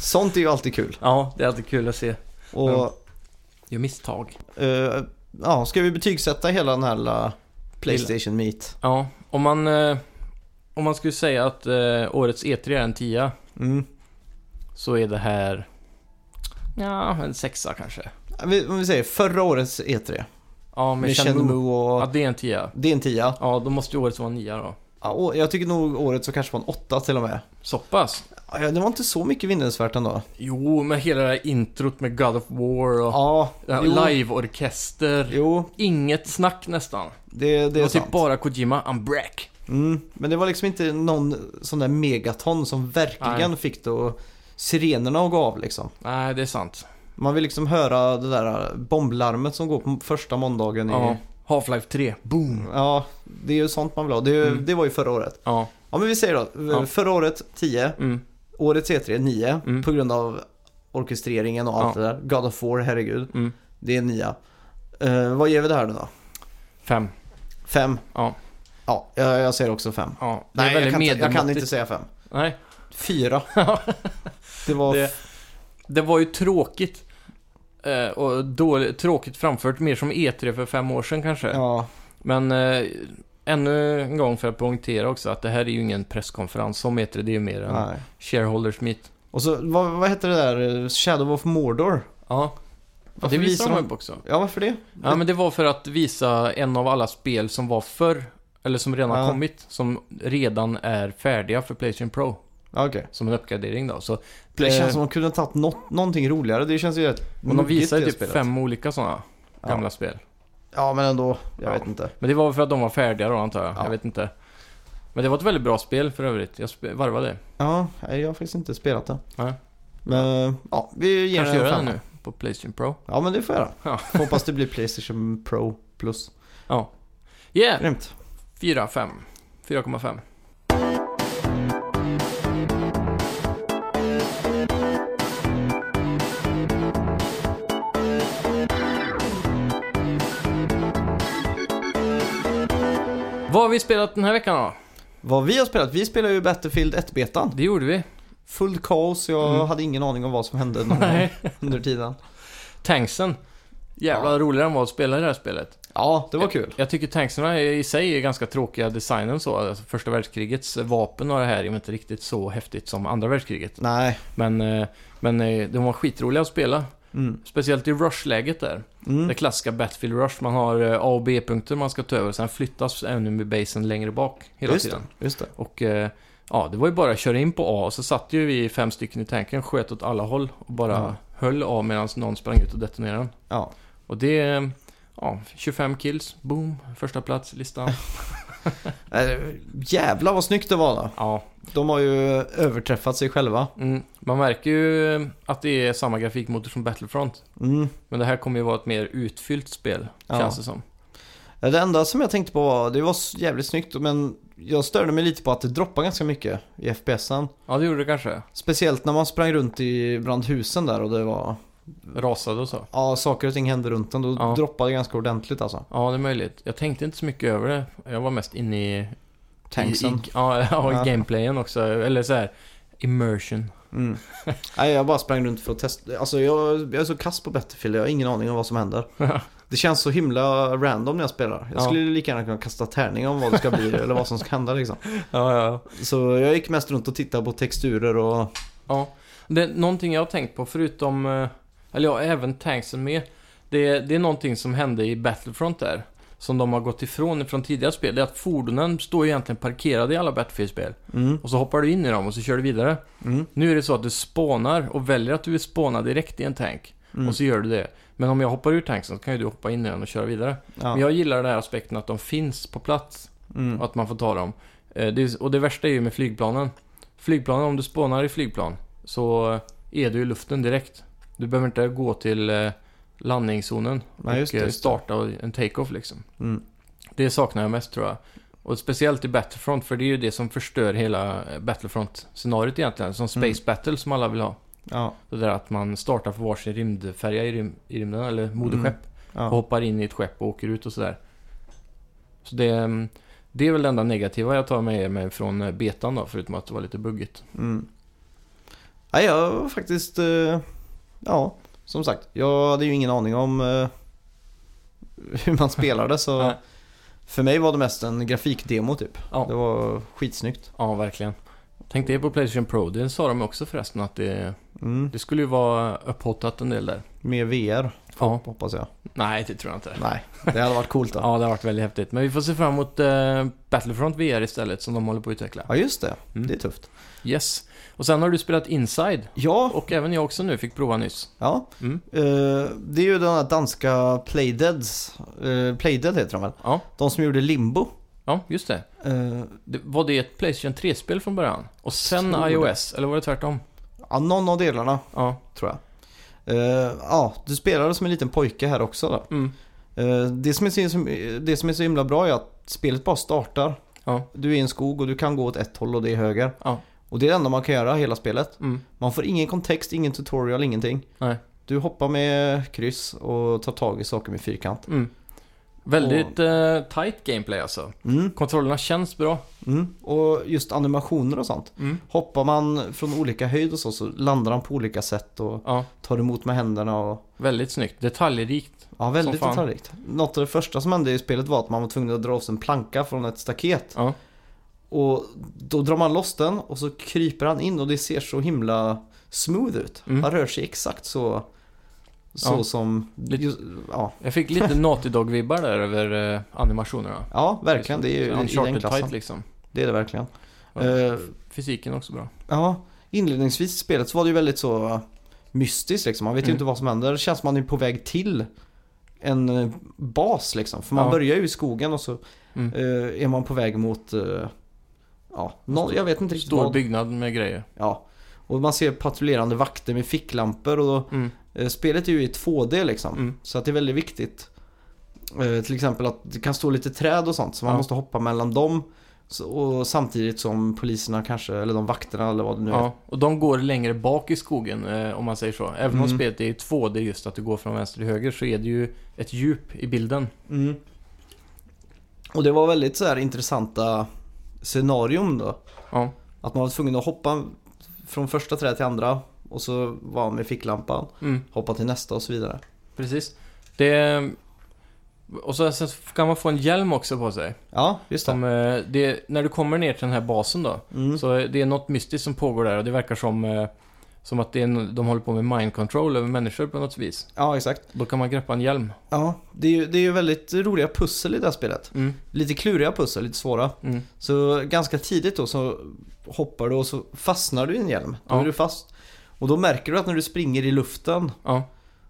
Sånt är ju alltid kul.
Ja, det är alltid kul att se.
Och
Ja. Gör misstag.
eh, ja, ska vi betygsätta hela den här lilla Playstation Meet?
Ja, om man... Eh, om man skulle säga att eh, årets E3 är en 10
Mm.
så är det här... Ja, en sexa kanske.
Vi- Om vi säger förra årets E3
Ja,
med
men
Shenmue
Shenmue. Ja,
och
det är en 10
det är en tia.
Ja, då måste ju årets vara en 9 då.
Ja, och jag tycker nog året så kanske var en åtta till och med.
Så pass?
Ja, Det var inte så mycket vinningsvärt ändå.
Jo, med hela det här introt med God of War och
Ja,
ja,
jo,
liveorkester.
jo
Inget snack nästan.
det,
Det
det är
var
sant.
typ bara Kojima, I'm back.
Mm, men det var liksom inte någon sån där megaton som verkligen fick då sirenerna att gå av liksom.
Nej, det är sant.
Man vill liksom höra det där bomblarmet som går på första måndagen i...
Ja. Half-Life 3, boom.
Ja, det är ju sånt man vill ha. Det, är ju-
Mm.
det var ju förra året.
Ja,
Ja men vi säger då, eh,
Ja.
förra året 10,
mm.
året C3 9
Mm.
på grund av orkestreringen och allt
Ja.
det där. God of War, herregud.
Mm.
Det är 9. Eh, vad ger vi det här nu då?
Fem.
5?
Ja.
Ja, jag, jag säger också 5.
Ja, det
Nej,
är väldigt
jag kan, inte, jag kan
medelmåttigt.
inte säga 5.
Nej,
4. [LAUGHS] det var...
det, det var ju tråkigt. Eh, och dåligt, tråkigt framfört, mer som E3 för fem år sedan kanske.
Ja,
Men eh, ännu en gång för att poängtera också att det här är ju ingen presskonferens som heter det, det är ju mer en
nej.
shareholders meet.
Och så, vad, vad hette det där? eh, Shadow of Mordor?
Ja.
Varför
det visar
visar
de
de-
upp också.
Ja, varför det?
Ja, men det var för att visa en av alla spel som var förr, eller som redan har
Ja.
kommit, som redan är färdiga för Playstation Pro.
Ja, okej.
Som en uppgradering då. Så,
Det känns
eh,
som de kunde ha tagit något, någonting roligare. Det känns ju rätt
och de
moget,
visade
det
typ
spelet.
fem olika sådana
Ja.
gamla spel.
Ja, men ändå. Jag
Ja.
vet inte.
Men det var väl för att de var färdiga då antar jag.
Ja.
Jag vet inte. Men det var ett väldigt bra spel för övrigt. Jag spe- varvade det.
Ja, nej, jag har faktiskt inte spelat det.
Nej.
Men eh, ja, vi ger
Kanske
den
göra
en femma.
det nu på Playstation Pro.
Ja, men det får jag göra. [LAUGHS]
Ja.
Hoppas det blir Playstation Pro Plus.
Ja. Yeah!
Grymt.
4, 5. 4,5. Vad har vi spelat den här veckan då?
Vad vi har spelat? Vi spelar ju Battlefield 1-betan.
Det gjorde vi.
Full kaos, jag
Mm.
hade ingen aning om vad som hände någon
[LAUGHS] Nej.
gång under tiden.
Tanksen. Jävla rolig den var att spela i det här spelet.
Ja, det var kul.
Jag, jag tycker tankserna i sig är ganska tråkiga designen så. Alltså, första världskrigets vapen och det här är väl inte riktigt så häftigt som andra världskriget.
Nej.
Men, eh, men eh, de var skitroliga att spela.
Mm.
Speciellt i rush-läget där. Det
Mm.
klassiska Battlefield Rush. Man har eh, A och B-punkter man ska ta över. Sen flyttas enemy-basen längre bak hela
Just
tiden.
det, just det.
Och eh, ja, det var ju bara att köra in på A. Och så satt ju vi fem stycken i tanken, sköt åt alla håll och bara
Ja.
höll A medan någon sprang ut och detonerade den.
Ja.
Och det... eh, Ja, 25 kills. Boom. Första plats i listan.
Äh, jävlar vad snyggt det var då.
ja.
De har ju överträffat sig själva.
Mm. Man märker ju eh, att det är samma grafikmotor som Battlefront.
Mm.
Men det här kommer ju vara ett mer utfyllt spel,
Ja.
känns det som.
Det enda som jag tänkte på var, det var s- jävligt snyggt men jag störde mig lite på att det droppade ganska mycket i FPSen.
Ja, det gjorde det kanske.
Speciellt när man sprang runt i bland husen där och det var,
Rasade och så.
ja saker och ting hände runt en. Då
Ja.
droppade det ganska ordentligt alltså.
Ja, det är möjligt. Jag tänkte inte så mycket över det. Jag var mest inne i... I,
Tanksen.
i, ja, [LAUGHS] ja, i
Ja.
gameplayen också. Eller så här... Immersion. [LAUGHS]
Mm. Nej, jag bara sprang runt för att testa. Alltså jag, jag är så kass på Battlefield, jag har ingen aning om vad som händer. Det känns så himla random när jag spelar. Jag
Ja.
skulle lika gärna kunna kasta tärning om vad det ska bli
[LAUGHS]
eller vad som ska hända liksom.
ja, ja.
Så jag gick mest runt och tittade på texturer och...
ja. Det, någonting jag har tänkt på, förutom eh, Eller ja, även tanksen med. Det, det är någonting som hände i Battlefront där. Som de har gått ifrån från tidigare spel. Det är att fordonen står ju egentligen parkerade i alla Battlefield-spel.
Mm.
Och så hoppar du in i dem och så kör du vidare.
Mm.
Nu är det så att du spånar och väljer att du vill spåna direkt i en tank.
Mm.
Och så gör du det. Men om jag hoppar ur tanken så kan ju du hoppa in i den och köra vidare. Men
Ja.
jag gillar den här aspekten att de finns på plats
Mm.
och att man får ta dem. Eh, Det, är- och det värsta är ju med flygplanen. Flygplanen, om du spånar i flygplan så eh, är du i luften direkt. Du behöver inte gå till eh, landningszonen
Ja, just
och
det,
eh,
just det.
starta en take-off liksom.
Mm.
Det saknar jag mest tror jag. Och speciellt i Battlefront, för det är ju det som förstör hela eh, Battlefront-scenariot egentligen. Som Space
Mm.
Battle som alla vill ha.
Ja.
Det där att man startar för varsin rymdfärja i, rym- i rymden, eller moderskepp. Och
Mm, Ja.
hoppar in i ett skepp och åker ut och sådär. Så det, mm, det är väl det enda negativa jag tar med mig från eh, betan då, förutom att det var lite buggigt.
Mm. Nej, jag var faktiskt... eh, Ja, som sagt. Jag hade ju ingen aning om eh, [LAUGHS] hur man spelade så...
Nej.
För mig var det mest en grafikdemo typ.
Ja.
Det var skitsnyggt.
Ja, verkligen. Tänk dig på Playstation Pro, det sa de också förresten att det,
Mm.
det skulle ju vara upphottat en del där.
Med VR
Ja.
hoppas jag.
Nej, det tror jag inte.
Nej, det hade varit coolt då.
Ja, det har varit väldigt häftigt. Men vi får se fram emot eh, Battlefront VR istället, som de håller på att utveckla.
Ja just det,
Mm.
det är tufft.
Yes. Och sen har du spelat Inside.
Ja,
Och även jag också nu fick prova nyss.
ja.
Mm.
Eh, det är ju den här danska Playdeads, eh, Playdead heter de väl?
Ja.
De som gjorde Limbo.
Ja, just det.
Eh,
det. Var det ett Playstation 3-spel från början? Och sen
Tror det.
iOS, eller var det tvärtom?
ja, någon av delarna
Ja.
tror jag. Eh, ja, du spelade som en liten pojke här också då.
Mm.
Eh, det, som är så, det som är så himla bra är att spelet bara startar.
Ja.
Du är i en skog och du kan gå åt ett håll och det är höger.
Ja.
Och det är det enda man kan göra hela spelet.
Mm.
Man får ingen kontext, ingen tutorial, ingenting.
Nej.
Du hoppar med kryss och tar tag i saker med fyrkant.
Mm. Väldigt eh, tight gameplay alltså.
Mm,
Kontrollerna känns bra.
mm. Och just animationer och sånt. Hoppar man från olika höjd och så, så landar han på olika sätt och
Ja,
tar emot med händerna och...
väldigt snyggt. Detaljrikt.
Ja,
Som
väldigt
fan.
detaljrikt. Något av det första som hände i spelet var att man var tvungen att dra loss en planka från ett staket.
Ja.
Och då drar man loss den och så kryper han in och det ser så himla smooth ut.
Mm.
Han rör sig exakt så... Så
Ja.
som...
Lite-
Just, ja.
Jag
[LAUGHS]
fick lite Naughty Dog-vibbar där över eh, animationerna.
ja, verkligen. Det är ju i den
Uncharted tight
klassen.
liksom.
Det är det verkligen.
Ja.
Eh,
Fysiken också bra.
Ja, inledningsvis i spelet så var det ju väldigt så äh, mystiskt liksom. Man vet ju
Mm.
inte vad som händer. Det känns som man är på väg till en eh, bas liksom. För man
Ja.
börjar ju i skogen och så
Mm.
eh, är man på väg mot, eh, ja, någon, jag vet inte riktigt
Stor
vad.
byggnad med grejer.
Ja. Och man ser patrullerande vakter med ficklampor och då,
Mm.
eh, spelet är ju i 2D liksom.
Mm.
Så att det är väldigt viktigt. Eh, till exempel att det kan stå lite träd och sånt så man
Ja.
måste hoppa mellan dem. Så, och samtidigt som poliserna kanske, eller de vakterna eller vad det nu är.
Ja, och de går längre bak i skogen eh, om man säger så. Även om
Mm.
spelet är i 2D just att du går från vänster till höger så är det ju ett djup i bilden.
Mm. Och det var väldigt så här intressanta scenarion då.
Ja,
Att man var tvungen att hoppa från första träd till andra och så var man med ficklampan,
mm,
hoppa till nästa och så vidare.
precis. Det... Och så, sen kan man få en hjälm också på sig.
Ja, just det.
Som, eh, det när du kommer ner till den här basen då.
Mm.
Så eh, det är något mystiskt som pågår där och det verkar som, eh, som att det är, en- de håller på med mind control över människor på något vis.
Ja, exakt.
Då kan man greppa en hjälm.
Ja, det är ju det är ju väldigt roliga pussel i det här spelet.
Mm,
Lite kluriga pussel, lite svåra.
mm,
Så ganska tidigt då så hoppar du och så fastnar du i en hjälm. Då
Ja.
är du fast. Och då märker du att när du springer i luften
ja,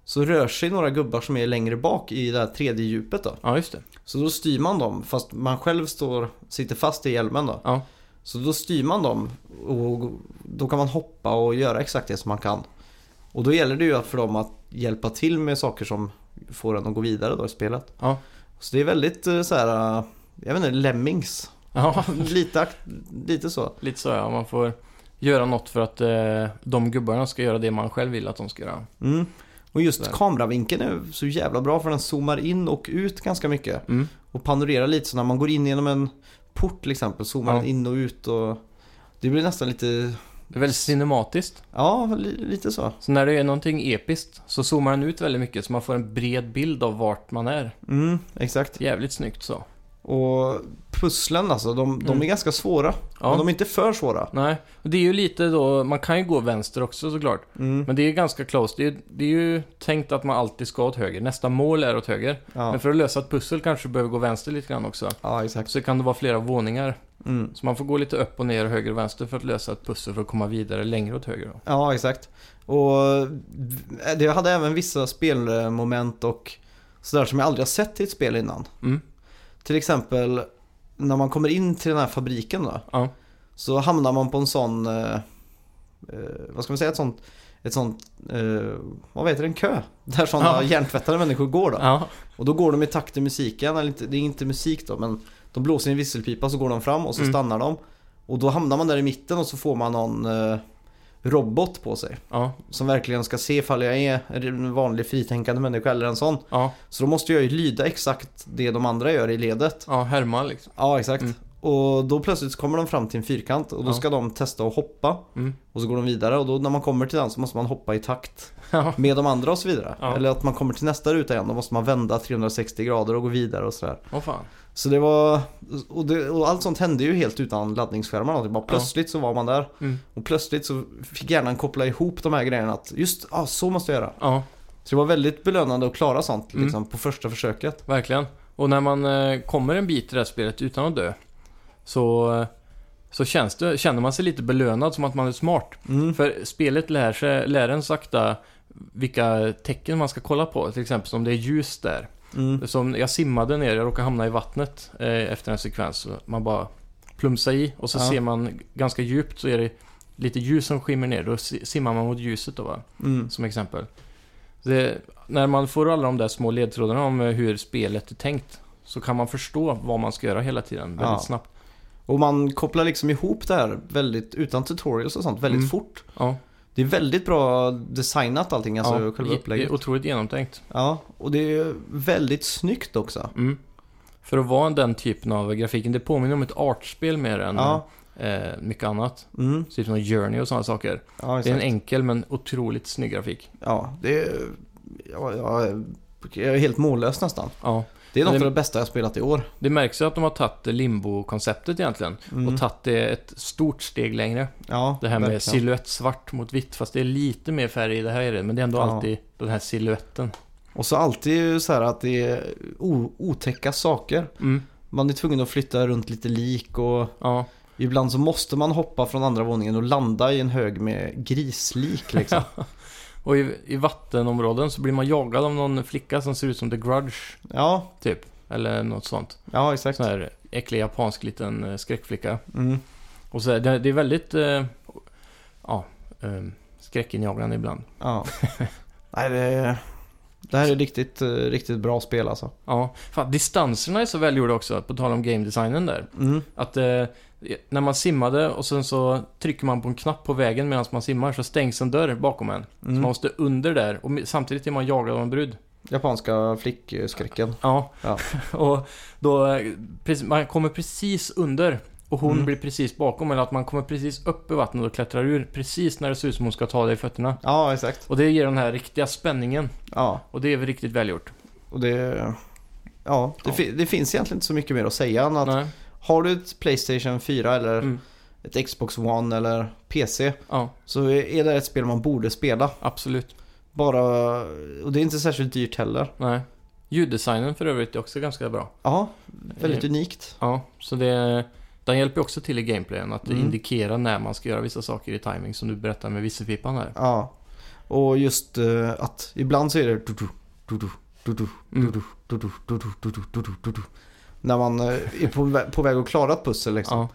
så rör sig några gubbar som är längre bak i det här tredje djupet då.
ja, just det.
Så då styr man dem fast man själv står, sitter fast i hjälmen då.
Ja.
Så då styr man dem och då kan man hoppa och göra exakt det som man kan. Och då gäller det ju för dem att hjälpa till med saker som får en att gå vidare då i spelet.
Ja.
Så det är väldigt eh, så här, eh, jag vet inte, Lemmings.
Ja,
[LAUGHS] lite, akt- lite så.
Lite så ja, man får göra något för att eh, de gubbarna ska göra det man själv vill att de ska göra.
Mm. Och just
Sådär.
kameravinkeln är så jävla bra för den zoomar in och ut ganska mycket.
Mm.
och panorera lite så när man går in genom en port till exempel zoomar
Ja.
den in och ut och det blir nästan lite,
Det är väldigt cinematiskt.
ja li- lite så.
Så när det är någonting episkt så zoomar den ut väldigt mycket så man får en bred bild av vart man är.
Mm, exakt.
Jävligt snyggt så.
Och pusslen alltså, de, de är
Mm.
ganska svåra.
Ja.
Men de är inte för svåra.
Nej, och det är ju lite då, man kan ju gå vänster också såklart.
Mm.
Men det är ganska close. Det är, det är ju tänkt att man alltid ska åt höger. Nästa mål är åt höger.
Ja.
Men för att lösa ett pussel kanske du behöver gå vänster lite grann också.
ja, exakt.
Så kan det vara flera våningar.
Mm.
Så man får gå lite upp och ner, höger och vänster för att lösa ett pussel för att komma vidare längre åt höger. Då.
Ja, exakt. Och det hade även vissa spelmoment och sådär som jag aldrig har sett i ett spel innan.
Mm.
Till exempel när man kommer in till den här fabriken då.
Ja.
Så hamnar man på en sån, eh, eh, vad ska man säga, ett sånt, ett sånt eh, vad heter det, en kö. Där sådana
Ja.
hjärntvättade människor går då.
Ja.
Och då går de i takt till musiken, eller inte, det är inte musik då men de blåser i en visselpipa så går de fram och så
Mm.
stannar de. Och då hamnar man där i mitten och så får man någon eh, robot på sig.
Ja.
Som verkligen ska se ifall jag är en vanlig fritänkande människa eller en sån.
Ja.
Så då måste jag ju lyda exakt det de andra gör i ledet.
Ja. Härma liksom.
Ja, exakt.
Mm.
Och då plötsligt så kommer de fram till en fyrkant och då
Ja.
ska de testa att hoppa.
Mm.
Och så går de vidare och då när man kommer till den så måste man hoppa i takt
Ja.
med de andra och så vidare.
Ja.
Eller att man kommer till nästa ruta igen, då måste man vända 360 grader och gå vidare och sådär.
Åh fan.
Så det var, och, det, och allt sånt hände ju helt utan laddningsskärmarna. Det bara plötsligt så var man där.
Mm.
Och plötsligt så fick hjärnan koppla ihop de här grejerna att just, ja ah, så måste jag göra.
Ja,
Så det var väldigt belönande att klara sånt
Mm.
liksom på första försöket.
verkligen. Och när man eh, kommer en bit i det här spelet utan att dö så, eh, så känns det, känner man sig lite belönad som att man är smart.
Mm.
För spelet lär, sig, lär en sakta vilka tecken man ska kolla på. Till exempel om det är ljus där.
Mm.
Som jag simmade ner, jag råkade hamna i vattnet eh, efter en sekvens. Så man bara plumsar i och så
Ja.
ser man ganska djupt så är det lite ljus som skimmer ner. Då si- simmar man mot ljuset då va?
Mm.
Som exempel. Det, när man får alla de där små ledtrådarna om eh, hur spelet är tänkt så kan man förstå vad man ska göra hela tiden väldigt
Ja.
snabbt.
Och man kopplar liksom ihop det här väldigt, utan tutorials och sånt, väldigt
Mm.
fort.
Ja,
Det är väldigt bra designat allting, alltså själva
ge-
upplägget.
Otroligt genomtänkt.
Ja, och det är väldigt snyggt också.
Mm. För att vara den typen av grafiken, det påminner om ett artspel mer än
Ja,
eh, mycket annat.
mm.
Typ som Journey och sådana saker.
ja
Det är en
exakt.
enkel men otroligt snygg grafik.
Ja, det är... Ja, jag, jag är helt mållös nästan.
Ja.
Det är något
Men det-
av det bästa jag spelat i år.
Det märks ju att de har tagit eh, limbo-konceptet egentligen
Mm.
och tagit det ett stort steg längre.
ja,
Det här med
verkligen.
silhuett svart mot vitt, fast det är lite mer färg i det här är det, men det är ändå
Ja.
alltid den här silhuetten.
Och så alltid ju så här att det är o- otäcka saker.
Mm.
Man är tvungen att flytta runt lite lik och
Ja.
ibland så måste man hoppa från andra våningen och landa i en hög med grislik liksom.
[LAUGHS] Och i, i vattenområden så blir man jagad av någon flicka som ser ut som The Grudge,
ja,
typ. Eller något sånt.
ja exakt.
Sån här äcklig japansk liten eh, skräckflicka.
Mm.
Och så är det, det är väldigt eh, ja, eh, skräckinjagande ibland. [LAUGHS]
Ja. Nej, det, det här är riktigt, eh, riktigt bra spel alltså.
Ja, fan, distanserna är så välgjorda också, på tal om game designen där.
Mm.
Att eh, när man simmade och sen så trycker man på en knapp på vägen medan man simmar så stängs en dörr bakom en. Så
Mm.
man måste under där och mi- samtidigt är man jagad av en brud.
Japanska flickskräcken.
Ja.
Ja.
[LAUGHS] och då, eh, precis- man kommer precis under och hon
Mm.
blir precis bakom eller att man kommer precis upp i vattnet och klättrar ur precis när det ser ut som hon ska ta dig i fötterna.
Ja, exakt.
Och det ger den här riktiga spänningen
Ja,
och det är väl riktigt välgjort.
och det... Ja, det,
Ja.
fi- det finns egentligen inte så mycket mer att säga än att
Nej.
har du ett Playstation 4 eller
Mm.
ett Xbox One eller PC
Ja,
så är det ett spel man borde spela.
absolut.
Bara... Och det är inte särskilt dyrt heller.
Nej. Ljuddesignen för övrigt är också ganska bra.
Ja, väldigt
Eh.
unikt.
Ja, så det... Den hjälper ju också till i gameplayen att
Mm.
indikera när man ska göra vissa saker i timing som du berättar med visselpipan här.
Ja. Och just eh, att ibland så är det... du-du, du-du, du-du,
Mm.
du-du, du-du, du-du, du-du, du-du, du-du. När man eh, är på, vä- på väg att klara ett pussel liksom.
Ja,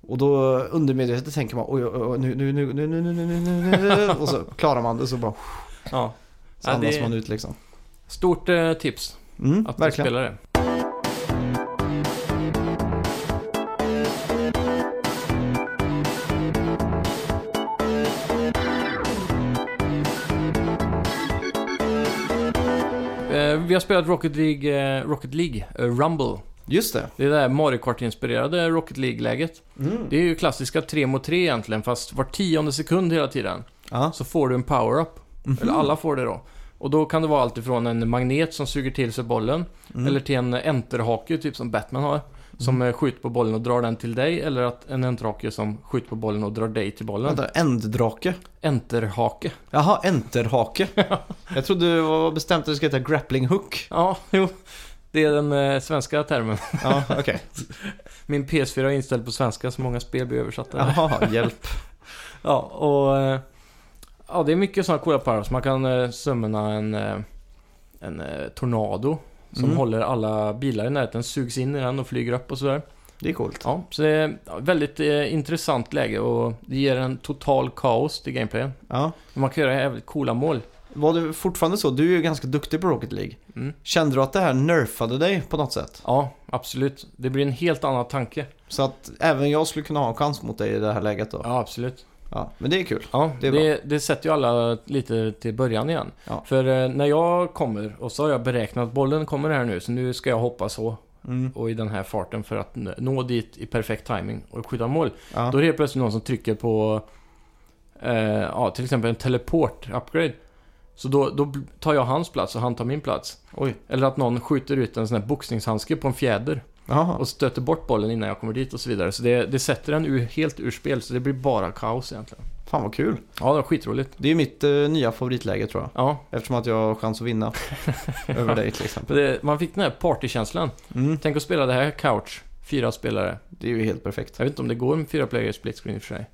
Och då undermedvetet tänker man oj, oj, oj nu, nu, nu, nu, nu, nu, nu, nu, nu, nu, och så klarar man det så bara
ja.
så
Ja,
andas
det-
man ut liksom.
Stort eh, tips
Mm,
att
verkligen.
spela det. Eh, Vi har spelat Rocket League, eh, Rocket League eh, Rumble.
Just det.
Det är det här Mario Kart-inspirerade Rocket League-läget.
Mm.
Det är ju klassiska 3 mot 3 egentligen, fast var tionde sekund hela tiden
Ja. Mhm.
så får du en power-up. Eller alla får det då. Och då kan det vara allt ifrån en magnet som suger till sig bollen,
Mm.
eller till en enterhake, typ som Batman har. Som eh, skjuter på bollen och drar den till dig, eller att en enterhake som skjuter på bollen och drar dig till bollen.
Vänta, änddrake?
Enterhake.
Jaha,
[LAUGHS]
enterhake. jag trodde det var bestämt att det ska heta grappling hook.
Ja, [LAUGHS] jo. Det är den eh, svenska termen.
Ja, okej.
[LAUGHS] Min PS4 är inställd på svenska, så många spel blir översatta.
Jaha, hjälp.
Ja, och... eh, Ja, det är mycket sådana coola powers. Man kan eh, summona en, eh, en eh, tornado som
Mm.
håller alla bilar i närheten, sugs in i den och flyger upp och sådär.
Det är coolt.
Ja, så det är ja, väldigt eh, intressant läge och det ger en total kaos till gameplayen.
Ja.
Men Man kan göra jävligt coola mål.
Var det fortfarande så? Du är ju ganska duktig på Rocket League.
Mm.
Kände du att det här nerfade dig på något sätt?
Ja, absolut. Det blir en helt annan tanke.
Så att även jag skulle kunna ha en chans mot dig i det här läget då?
Ja, absolut.
Ja, men det är kul.
Ja,
Det
det,
är
det, sätter ju alla lite till början igen.
Ja.
För eh, när jag kommer, och så har jag beräknat att bollen kommer här nu, så nu ska jag hoppa så
Mm.
och i den här farten för att n- nå dit i perfekt timing och skjuta mål.
Ja.
Då är det helt plötsligt någon som trycker på eh, ja, till exempel en teleport-upgrade. Så då, då tar jag hans plats och han tar min plats.
Oj.
Eller att någon skjuter ut en sån här boxningshandske på en fjäder
Jaha.
och stöter bort bollen innan jag kommer dit och så vidare. Så det, det sätter en ur, helt ur spel, så det blir bara kaos egentligen.
Fan vad kul.
Ja, det var skitroligt.
Det är ju mitt eh, nya favoritläge tror jag.
Ja,
Eftersom att jag har chans att [LAUGHS] vinna över dig till exempel.
För det, man fick den här partykänslan.
Mm.
Tänk att spela det här couch, fyra spelare.
Det är ju helt perfekt.
Jag vet inte om det går med fyra player split screen i och för sig.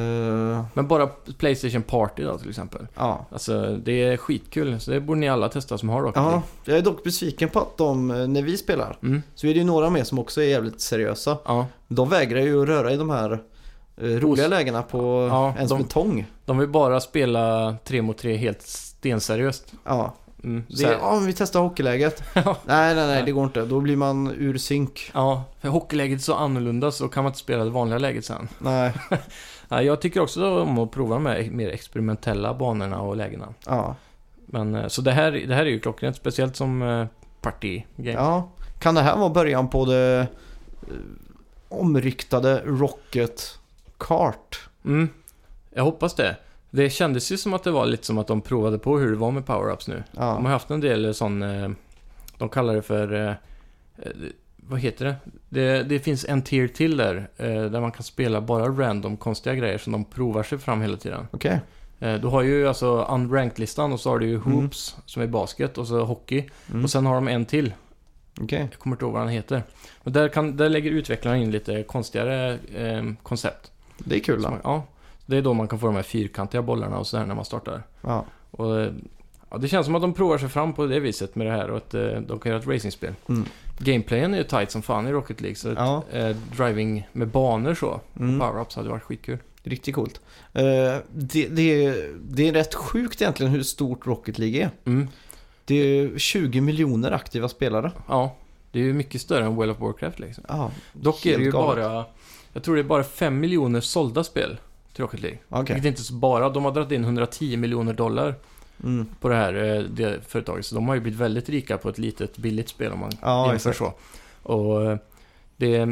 Eh,
Men bara Playstation Party då till exempel.
ja.
Alltså det är skitkul, så det borde ni alla testa som har Rocket
ja,
League.
jag är dock besviken på att de, eh, när vi spelar,
Mm.
så är det ju några med som också är jävligt seriösa.
Ja,
De vägrar ju att röra i de här eh, roliga
Os-
lägena på
Ja,
ens
de-
med tång.
de vill bara spela tre mot tre helt stenseriöst.
Ja,
Mm.
så här,
Det, [LAUGHS]
"Ja, men vi testar hockeyläget.
Ja.
nej, nej, nej, det går inte. Då blir man ur synk.
ja, för hockeyläget är så annorlunda så kan man inte spela det vanliga läget sen.
Nej,
Ja, jag tycker också om att prova de här mer experimentella banorna och lägena.
ja.
Men, eh, så det här, det här är ju klockrent, speciellt som eh, party-game.
ja. Kan det här vara början på det eh, omryktade Rocket Kart?
Mm, jag hoppas det. Det kändes ju som att det var lite som att de provade på hur det var med power-ups nu. De
Ja,
har haft en del sån... eh, De kallar det för... eh, eh, Vad heter det? Det, det finns en tier till där. eh, Där man kan spela bara random konstiga grejer som de provar sig fram hela tiden.
okej.
Eh, Du har ju alltså unranked-listan och så har du ju hoops som är basket och så hockey.
Mm.
Och sen har de en till.
Okej.
Jag kommer inte ihåg vad den heter. Men där, kan, där lägger utvecklarna in lite konstigare eh, koncept.
Det är kul
Så
då.
man, ja, det är då man kan få de här fyrkantiga bollarna och så här när man startar.
Ja.
Och, eh, ja, det känns som att de provar sig fram på det viset med det här och att eh, de kan göra ett racingspel.
Mm.
Gameplayen är ju tight som fan i Rocket League så
Ja.
ett, eh, driving med banor så,
Mm.
power-ups hade varit skitkul.
Riktigt coolt. Eh, det, det, det är rätt sjukt egentligen hur stort Rocket League är.
Mm.
Det är 20 miljoner aktiva spelare.
Ja, det är ju mycket större än World of Warcraft liksom.
Ja,
Dock är
Helt
det ju
galet.
bara, jag tror det är bara 5 miljoner sålda spel till Rocket League.
okej.
Vilket är inte så bara, de har dragit in 110 miljoner dollar
Mm.
på det här eh, det företaget. Så de har ju blivit väldigt rika på ett litet billigt spel om man
Ja,
jämför
exakt.
så. Och eh, det,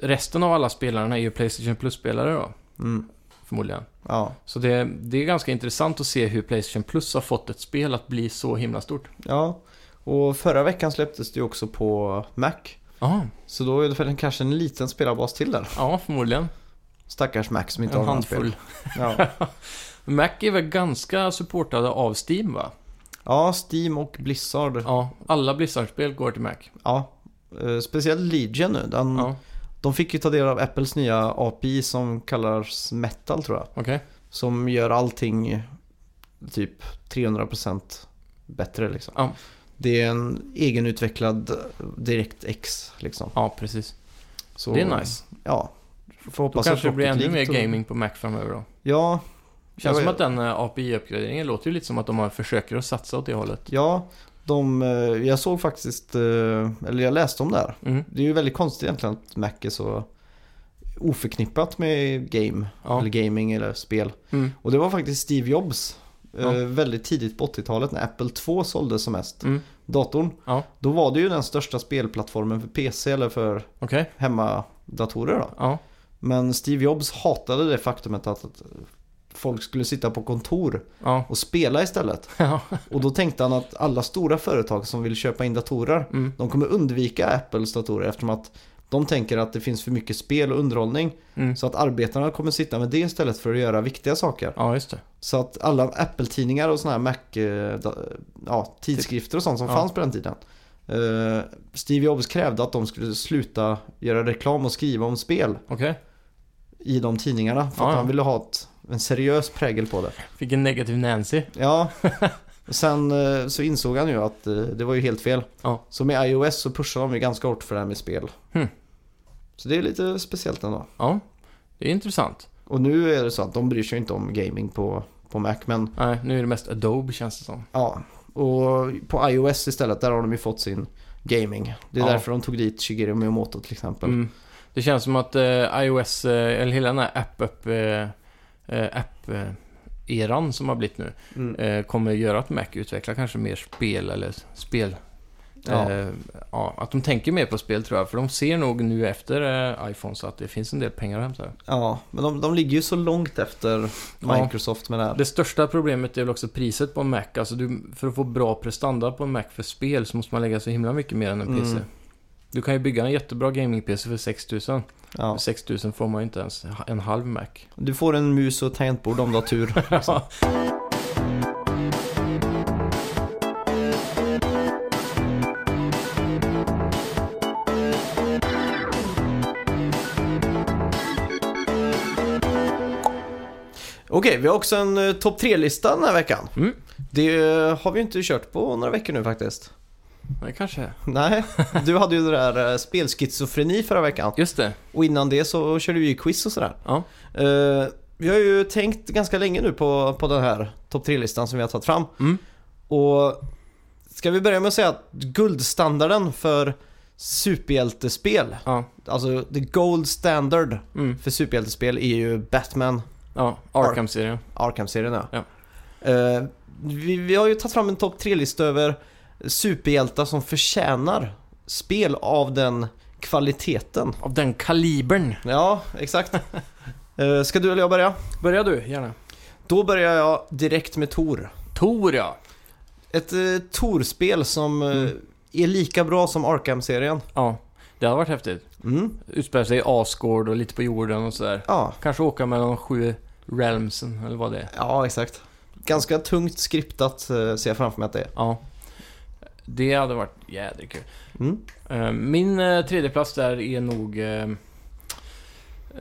resten av alla spelarna är ju Playstation Plus-spelare då,
Mm.
förmodligen.
Ja.
Så det, det är ganska intressant att se hur Playstation Plus har fått ett spel att bli så himla stort.
ja, och förra veckan släpptes det ju också på Mac.
Ja,
Så då är det väl kanske en liten spelarbas till där.
ja förmodligen.
Stackars Mac som inte
En
har några spel.
handfull.
Ja.
Mac är väl ganska supportade av Steam va?
[LAUGHS] ja, Steam och Blizzard.
Ja, alla Blizzard-spel går till Mac.
Ja. Eh, Speciellt Legion nu. Den,
Ja,
De fick ju ta del av Apples nya API som kallas Metal tror jag.
okej.
Som gör allting typ 300% bättre liksom.
Ja.
Det är en egenutvecklad DirectX liksom.
Ja, precis.
Så,
Det är nice.
Ja. Får
Då
hoppas att
kanske det blir
Rocket
ännu mer
League tog-
gaming på Mac framöver då.
Ja,
Känns
Jag
som
vet-
att den eh, API-uppgraderingen låter ju lite som att de har försöker att satsa åt det hållet.
ja. De, eh, jag såg faktiskt, eh, eller jag läste om det här.
Mm.
Det är ju väldigt konstigt egentligen att Mac är så oförknippat med game,
Ja.
eller gaming eller spel.
Mm.
Och det var faktiskt Steve Jobs. eh,
Ja.
Väldigt tidigt på 80-talet när Apple 2 såldes som mest.
Mm.
datorn.
Ja.
Då var det ju den största spelplattformen för PC eller för
Okej.
hemmadatorer. Då.
Ja.
Men Steve Jobs hatade det faktumet att, att folk skulle sitta på kontor
Ja. [LAUGHS]
och spela istället.
Ja.
Och då tänkte han att alla stora företag som vill köpa in datorer,
Mm.
de kommer undvika Apples datorer eftersom att de tänker att det finns för mycket spel och underhållning.
Mm.
Så att arbetarna kommer sitta med det istället för att göra viktiga saker.
ja, just det.
Så att alla Apple-tidningar och sådana här Mac, eh, da, ja, tidskrifter och sånt som
Ja.
fanns på den tiden. Eh, Steve Jobs krävde att de skulle sluta göra reklam och skriva om spel
Okej.
i de tidningarna. För
Ja,
att
ja.
han ville ha ett, en seriös prägel på det.
Fick en negativ Nancy.
Ja, och sen eh, så insåg han ju att eh, det var ju helt fel.
Ja.
Så med iOS så pushar de ju ganska hårt för det här med spel.
Hmm.
Så det är lite speciellt ändå.
Ja, det är intressant.
Och nu är det så att de bryr sig ju inte om gaming på, på Mac, men
Nej, nu är det mest Adobe känns det som.
Ja, och på iOS istället, där har de ju fått sin gaming. Det är
Ja.
därför de tog dit Shigeru Miyamoto till exempel.
Mm. Det känns som att eh, iOS, eh, eller hela den här app-eran eh, eh, app, eh, eran som har blivit nu,
Mm.
eh, kommer göra att Mac utvecklar kanske mer spel eller spel.
Ja.
Eh, ja, att de tänker mer på spel tror jag, för de ser nog nu efter eh, iPhones att det finns en del pengar att hämta.
Ja, men de, de ligger ju så långt efter
Ja.
Microsoft med det här.
Det största problemet är väl också priset på en Mac. Alltså du, för att få bra prestanda på en Mac för spel så måste man lägga så himla mycket mer än en PC.
Mm.
Du kan ju bygga en jättebra gaming-PC för 6000.
Ja.
För 6000 får man ju inte ens en halv Mac.
Du får en mus och ett tangentbord om du har tur. liksom. Okej, vi har också en eh, topp 3-lista den här veckan.
Mm.
Det eh, har vi inte kört på några veckor nu faktiskt.
Nej, kanske.
Nej, du hade ju det där eh, spelschizofreni förra veckan.
Just det.
Och innan det så körde vi ju quiz och sådär.
Ja.
Eh, vi har ju tänkt ganska länge nu på, på den här topp 3-listan som vi har tagit fram.
Mm.
Och ska vi börja med att säga att guldstandarden för superhjältespel,
Ja.
alltså the gold standard
Mm.
för superhjältespel är ju Batman
Ja, Arkham-serien.
Arkham-serien. ja.
Ja.
Eh, vi, vi har ju tagit fram en topp 3-lista över superhjältar som förtjänar spel av den kvaliteten.
Av den kalibern.
Ja,
[LAUGHS]
exakt. Eh, ska du eller jag börja?
Börja du, gärna.
Då börjar jag direkt med Tor.
Tor, ja.
Ett eh, Tor-spel som eh,
Mm.
är lika bra som Arkham-serien.
Ja, det hade varit häftigt.
Mm.
Utspelar sig i Asgård och lite på jorden och sådär.
Ja.
Kanske åka mellan de sju realmsen, eller vad det är.
ja, exakt. Ganska tungt skriptat eh, ser jag framför mig att det är.
Ja. Det hade varit jädrigt kul.
Mm.
Eh, Min eh, tredje plats där är nog... eh,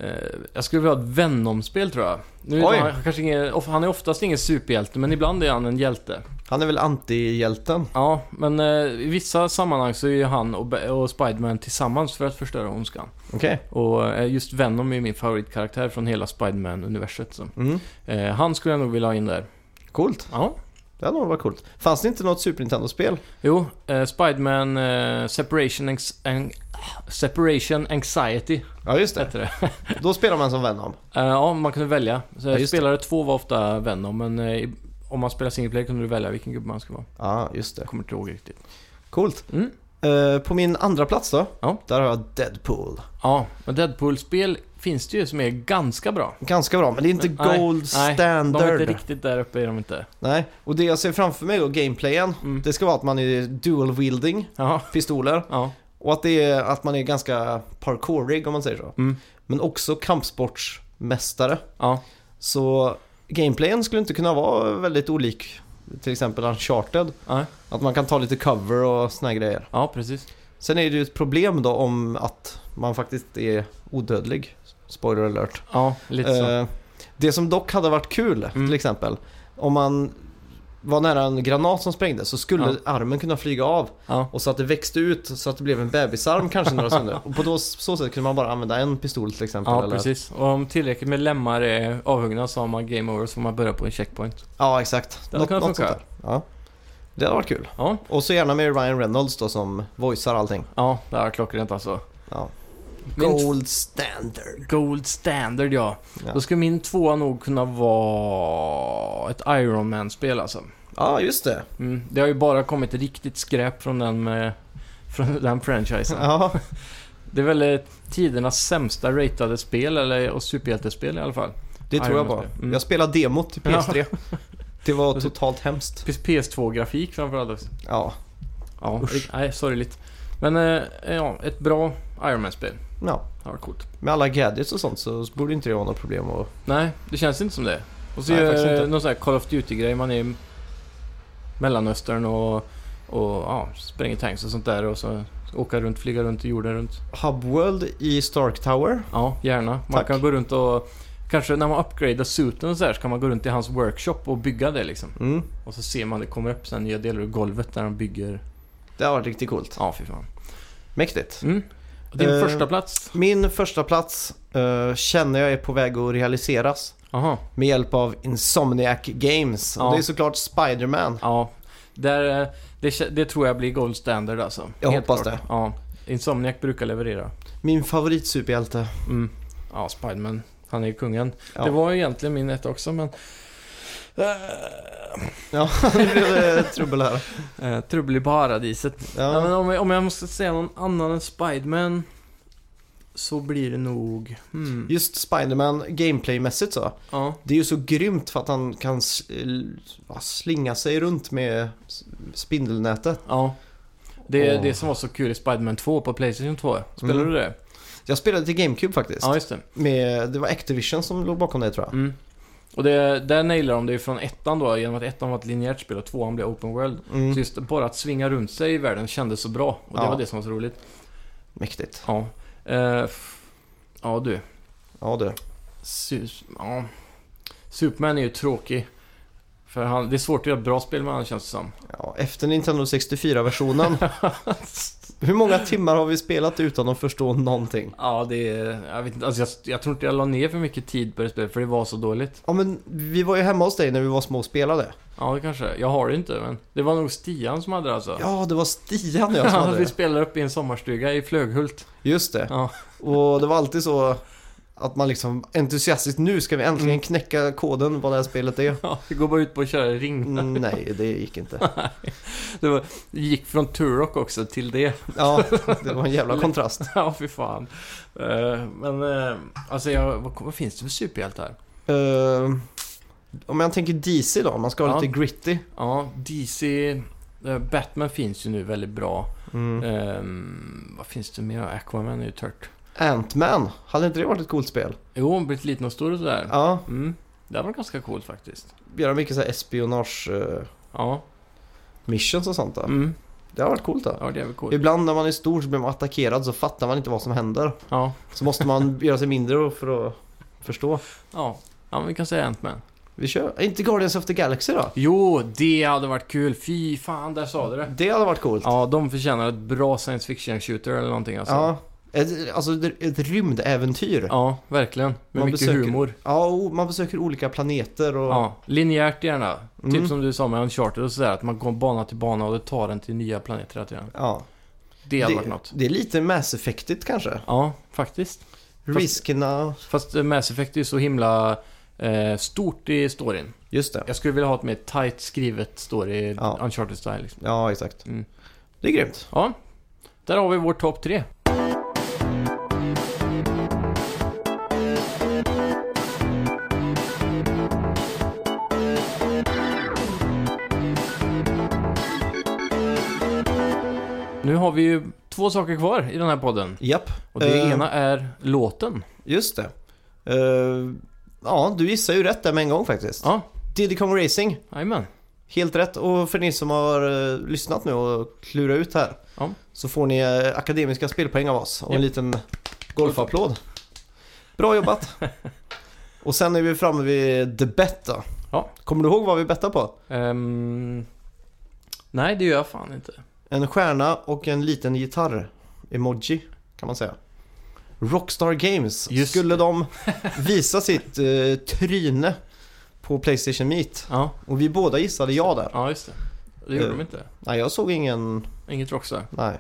eh, Jag skulle vilja ha ett Venom-spel tror jag. Nu
Oj.
är han, kanske ingen, of- han är oftast ingen superhjälte, men ibland är han en hjälte.
Han är väl antihjälten?
Ja, men eh, i vissa sammanhang så är ju han och, Be- och Spiderman tillsammans för att förstöra ondskan.
Okej.
Och eh, just Venom är min favoritkaraktär från hela Spiderman-universet. så.
Mm.
Eh, Han skulle jag nog vilja ha in där.
Coolt.
Ja.
Det hade nog varit coolt. Fanns det inte något Super Nintendo-spel?
Jo, eh, Spiderman eh, Separation, Anx- An- Separation Anxiety
Ja, just det.
heter det.
Då spelar man som Venom.
Eh, Ja, man kunde välja. Så
Ja, just det.
spelare två var ofta Venom, men eh, i- om man spelar single player kunde du välja vilken gubbe man skulle vara.
Ja, just det.
Jag kommer inte ihåg riktigt.
Coolt.
Mm.
Eh, på min andra plats då?
Ja.
Där har jag Deadpool.
Ja, men Deadpool-spel finns det ju som är ganska bra.
Ganska bra, men det är inte
Nej,
gold
nej, De
standard.
är inte riktigt där uppe, är de inte.
Nej, och det jag ser framför mig då, gameplayen,
Mm.
det ska vara att man är dual wielding,
Ja,
pistoler,
ja.
och att, det är, att man är ganska parkourig om man säger så.
Mm.
Men också kampsportsmästare.
ja.
Så gameplayen skulle inte kunna vara väldigt olik till exempel Uncharted.
Nej.
Att man kan ta lite cover och såna här grejer.
Ja, precis.
Sen är det ju ett problem då om att man faktiskt är odödlig. Spoiler alert.
Ja, lite så.
Eh, Det som dock hade varit kul,
Mm.
till exempel, om man var nära en granat som sprängdes så skulle
Ja.
armen kunna flyga av
Ja.
och så att det växte ut så att det blev en bebisarm kanske några sekunder. Och på då, så sätt kunde man bara använda en pistol till exempel.
Ja,
eller...
precis. Och om tillräckligt med lemmar är avhuggna så har man game over, så får man börja på en checkpoint.
ja exakt.
Det hade
Något,
kunnat
något sånt
funka.
där. Ja. Det hade varit kul.
Ja,
Och så gärna med Ryan Reynolds då som voicear allting.
ja det här är klockrent alltså.
Ja.
Min
Gold standard.
Gold standard ja.
Ja.
Då skulle min tvåa nog kunna vara ett Iron Man-spel alltså.
Ja, just det.
Mm. Det har ju bara kommit riktigt skräp från den, med, [LAUGHS] från den franchisen.
Ja,
Det är väl eh, tidernas sämsta ratade spel, eller och superhjältespel i alla fall.
Det tror jag
Iron Man
bara.
spel. Mm.
Jag spelade demot till PS3. Det var totalt hemskt.
PS2-grafik framförallt också.
Ja,
Ja,
Usch.
ri- nej, sorgligt. Men eh, ja, ett bra Iron Man-spel.
ja.
Det var coolt.
Med alla gadgets och sånt så borde inte det vara något problem att...
Nej, det känns inte som det. Och så
Nej,
är
faktiskt inte.
det någon sån här Call of Duty-grej. Man är i Mellanöstern och, och ja, spränger tanks och sånt där. Och så åka runt, flyga runt, jorden runt.
Hubworld i Stark Tower.
Ja, gärna. Man
Tack.
kan gå runt och... Kanske när man upgradar suiten och så här så kan man gå runt i hans workshop och bygga det liksom.
Mm.
Och så ser man det kommer upp sen nya delar ur golvet där de bygger...
Det har varit riktigt coolt.
Ja, fy fan.
Mäktigt.
Mm. Din
Eh.
första plats?
Min första plats eh, känner jag är på väg att realiseras
Aha.
med hjälp av Insomniac Games.
Ja.
Och det är såklart Spider-Man.
Ja. Där, eh, det, kä- det tror jag blir gold standard alltså.
Jag hoppas det.
Ja. Insomniac brukar leverera.
Min favoritsuperhjälte. [LAUGHS]
Mm. Ja, Spiderman. Han är ju kungen.
Ja.
Det var ju egentligen min ett också, men... Eh,
Ja, nu blev det trubbel här.
eh, trubbel i paradiset. Ja, men
Ja.
om, jag, om jag måste säga någon annan än Spiderman så blir det nog... Hmm.
Just Spider-Man gameplaymässigt så.
Ja.
Det är ju så grymt för att han kan s- l- ja, slinga sig runt med s- spindelnätet.
ja. Det är
Åh.
det som var så kul i Spiderman 2 på Playstation 2. Spelade
Mm.
du det?
Jag spelade till GameCube faktiskt.
Ja, just det.
Med, det var Activision som låg bakom det tror jag.
Mm. Och det, där nailar de det ju från ettan då, genom att ettan var ett linjärt spel och tvåan blev open world.
Mm.
Så just bara att svinga runt sig i världen kändes så bra. Och det
Ja.
var det som var så roligt.
Mäktigt.
Ja. Eh, f- ja du.
Ja du.
Su ja. Superman är ju tråkig. För han, det är svårt att göra ett bra spel med han känns det som.
Ja, efter Nintendo 64-versionen. hur många timmar har vi spelat utan att förstå någonting?
Ja, det är... Jag, vet inte, alltså jag, jag tror inte jag la ner för mycket tid på det spelet för det var så dåligt.
Ja men vi var ju hemma hos dig när vi var små och spelade.
Ja, det kanske. Jag har det inte, men det var nog Stian som hade det alltså.
Ja, det var Stian och jag
[LAUGHS]
som hade
vi
det.
spelade upp i en sommarstuga i Flöghult.
Just det.
Ja.
Och det var alltid så att man liksom entusiastiskt nu ska vi äntligen knäcka koden vad det här spelet är.
[LAUGHS] Ja, det går bara ut på att köra i ring.
Mm, nej, det gick inte.
Det var, det gick från Turok också till det. [LAUGHS]
Ja, det var en jävla kontrast.
ja, fy fan. Eh, men, eh, alltså, jag, vad, vad finns det för superhjältar?
Eh, om jag tänker DC då, om man ska ha
Ja.
lite gritty.
Ja, DC... eh, Batman finns ju nu väldigt bra.
Mm.
Ehm, vad finns det mer? Aquaman är ju tört.
Ant-Man, hade inte det varit ett coolt spel?
Jo, hon blivit liten och stor och sådär.
Ja,
Mm. Det var ganska coolt faktiskt.
göra mycket så här espionage eh,
Ja.
missions och sånt där.
Mm.
Det har varit coolt då.
Ja, det är väl coolt.
Ibland när man är stor så blir man attackerad så fattar man inte vad som händer.
Ja.
Så måste
[LAUGHS]
man göra sig mindre för att förstå.
Ja. Ja, men vi kan säga Ant-Man.
Vi kör. Inte Guardians of the Galaxy då?
Jo, det hade varit kul. Fy fan, där sa du det.
Det hade varit coolt.
Ja, de förtjänar ett bra science fiction shooter eller någonting alltså.
Ja. Ett, alltså ett ett rymdäventyr. Ja.
Ja, verkligen. Med
Man
mycket
besöker-
humor.
och man besöker olika planeter och...
Ja, linjärt gärna.
Mm.
Typ som du sa med Uncharted och sådär, att man går bana till bana och det tar en till nya planeter hela tiden.
Ja.
Det hade varit något.
det är lite Mass Effectigt kanske.
Ja, faktiskt. Fast-
Riskerna...
Fast eh, Mass Effect är ju så himla eh, stort i storyn.
Just det.
Jag skulle vilja ha ett mer tight skrivet story,
Ja.
Uncharted-style liksom.
Ja, exakt.
Mm.
Det är grymt.
Ja, där har vi vår topp tre. Nu har vi ju två saker kvar i den här podden.
Japp,
Och det
Eh.
ena är låten.
just det. Eh, ja, du gissar ju rätt där med en gång faktiskt.
Ja,
Diddy Kong Racing.
jajamän.
Helt rätt. Och för ni som har eh, lyssnat nu och klurat ut här
Ja.
så får ni eh, akademiska spelpoäng av oss och en
Ja.
liten golfapplåd. Bra jobbat!
[LAUGHS]
och sen är vi framme vid The Bet då.
Ja.
Kommer du ihåg vad vi bettade på?
Ehm, nej, det gör jag fan inte.
En stjärna och en liten gitarr-emoji kan man säga. Rockstar Games.
Just
Skulle de visa sitt eh, tryne på Playstation Meet?
Ja,
Och vi båda gissade ja där.
ja just det. Det gjorde
Eh.
de inte.
Nej, jag såg ingen
Inget Rockstar.
Nej.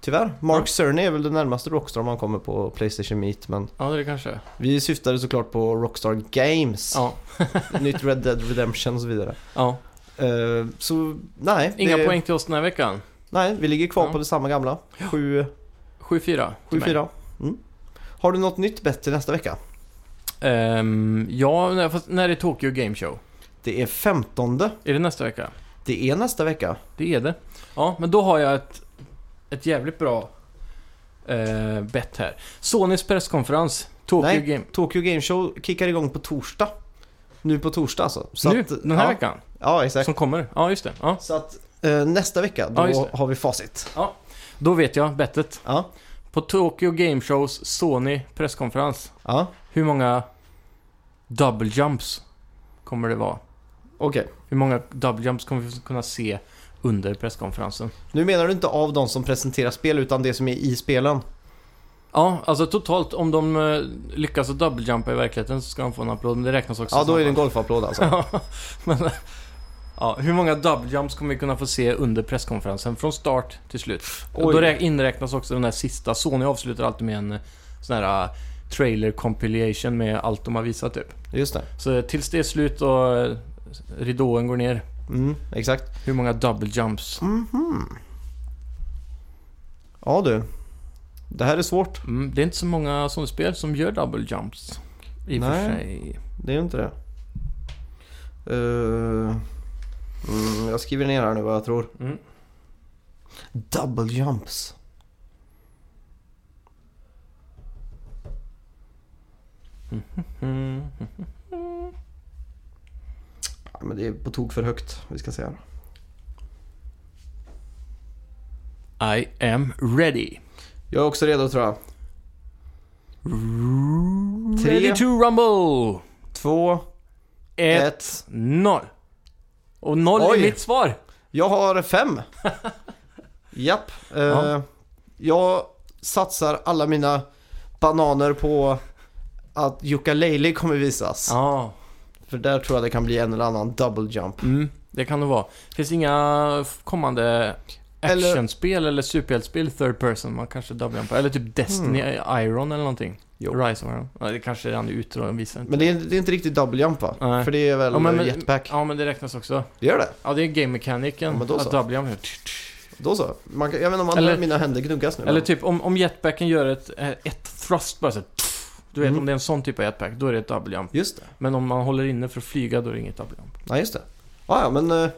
Tyvärr. Mark Cerny är väl det närmaste Rockstar man kommer på Playstation Meet. Men
Ja, det är det kanske.
vi syftade såklart på Rockstar Games.
Ja,
[LAUGHS] Nytt Red Dead Redemption och så vidare.
ja.
Eh, så nej.
Inga
det-
poäng till oss den här veckan.
Nej, vi ligger kvar
Ja.
på det samma gamla. 7-4.
7-4. till mig.
Mm. Har du något nytt bett till nästa vecka?
Ehm, ja, när- fast när är Tokyo Game Show?
Det är 15.
Är det nästa vecka?
Det är nästa vecka.
Det är det. Ja, men då har jag ett, ett jävligt bra eh, bett här. Sonys presskonferens, Tokyo
Nej.
Game...
Tokyo Game Show kickar igång på torsdag. Nu på torsdag alltså. Så
nu,
att,
den här
ja,
veckan,
Ja, exakt.
som kommer. Ja, just det. Ja.
Så att eh, nästa vecka,
Ja,
då
just det.
har vi facit.
Då vet jag bettet.
Ja,
På Tokyo Game Shows Sony presskonferens,
ja.
hur många double jumps kommer det vara?
okej.
Hur många double jumps kommer vi kunna se under presskonferensen?
Nu menar du inte av de som presenterar spel utan det som är i spelen.
Ja, alltså totalt om de eh, lyckas att double jumpa i verkligheten så ska de få en applåd, men det räknas också
Ja, då
som
är det en
applåd.
golfapplåd alltså.
[LAUGHS] Ja, men, ja, hur många double jumps kommer vi kunna få se under presskonferensen från start till slut? Och
Oj.
då rä- inräknas också den där sista. Sony avslutar alltid med en eh, sån här eh, trailer compilation med allt de har visat typ.
Just det.
Så eh, tills det är slut och eh, ridån går ner,
Mm, exakt.
hur många double jumps?
Mm. Ja du. Det här är svårt.
Mm, det är inte så många Sony-spel som gör double jumps. I och för
Nej.
sig.
Det är ju inte det. Eh, mm, jag skriver ner här nu vad jag tror.
Mm.
Double jumps.
Mm.
Ja, men det är på tok för högt. Vi ska se här.
I am ready.
Jag är också redo tror jag. Tre.
Ready to rumble!
Två,
Ett,
ett.
Noll. Och noll
Oj.
är mitt svar.
Jag har
[LAUGHS]
fem. Japp. Eh,
Ja.
Jag satsar alla mina bananer på att Yooka-Laylee kommer visas.
Ja,
För där tror jag det kan bli en eller annan double jump.
mm, det kan det vara. Finns det inga f- kommande
Eller-
actionspel eller, superhjältespel third person man kanske dubblar på? Eller typ Destiny Iron eller någonting?
Mm. Jo.
Rise of Iron. Ja, det kanske redan är ute och visar inte.
Men det är, det är inte riktigt double jump va?
Nej.
För det är väl
Ja, men- men-
jetpack?
Ja, men det räknas också.
Det gör det?
Ja, det är game mechanicen.
Ja, men då så.
att dubbla jump.
Då så. Man, kan- jag vet inte om man
Eller-
hör mina händer gnuggas nu.
Eller
men-
typ om, om jetpacken gör ett, eh, ett thrust bara så här, Du vet
Mm.
om det är en sån typ av jetpack, då är det ett double jump.
Just det.
Men om man håller inne för att flyga, då är det inget double jump.
Ja, just det. Ja, ja, men eh,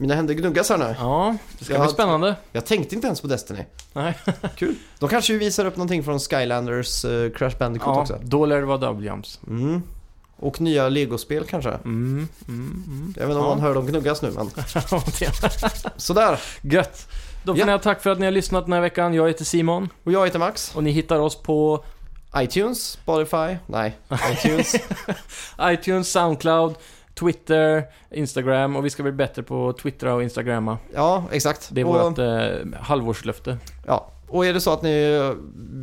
mina händer gnuggas här nu.
Ja, det ska
Jag
bli
har-
spännande.
Jag tänkte inte ens på Destiny.
Nej. [LAUGHS]
Kul. De kanske ju visar upp någonting från Skylanders eh, Crash Bandicoot
Ja,
också.
då lär det vara double jumps.
Mm. Och nya Lego-spel kanske.
Mm, mm, mm.
Jag vet inte om
Ja.
man
[LAUGHS]
hör dem gnuggas nu men...
Det-
Sådär!
Gött! Då får
Ja.
ni ha tack för att ni har lyssnat den här veckan. Jag heter Simon
Och jag heter Max.
och ni hittar oss på
iTunes, Spotify, nej. iTunes.
iTunes, Soundcloud, Twitter, Instagram och vi ska bli bättre på att twittra och instagramma.
[LAUGHS] Ja, exakt.
Det är
och,
vårt eh, halvårslöfte.
ja. och är det så att ni eh,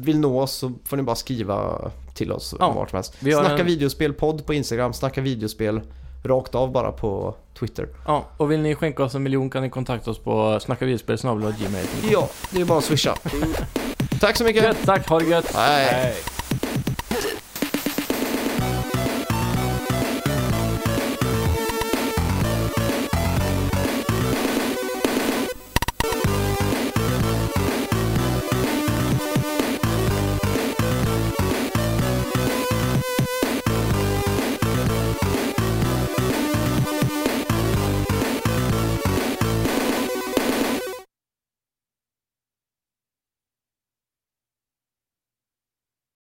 vill nå oss så får ni bara skriva till oss
Ja.
vart som helst.
Vi har
Snacka
en-
videospel podd på Instagram, snacka videospel rakt av bara på Twitter.
Ja, och vill ni skänka oss en miljon kan ni kontakta oss på snackavidspel.gmail. [LAUGHS]
Ja, det är bara att swisha. Tack så mycket!
Gött, tack, ha det gött!
Hej.
Hej.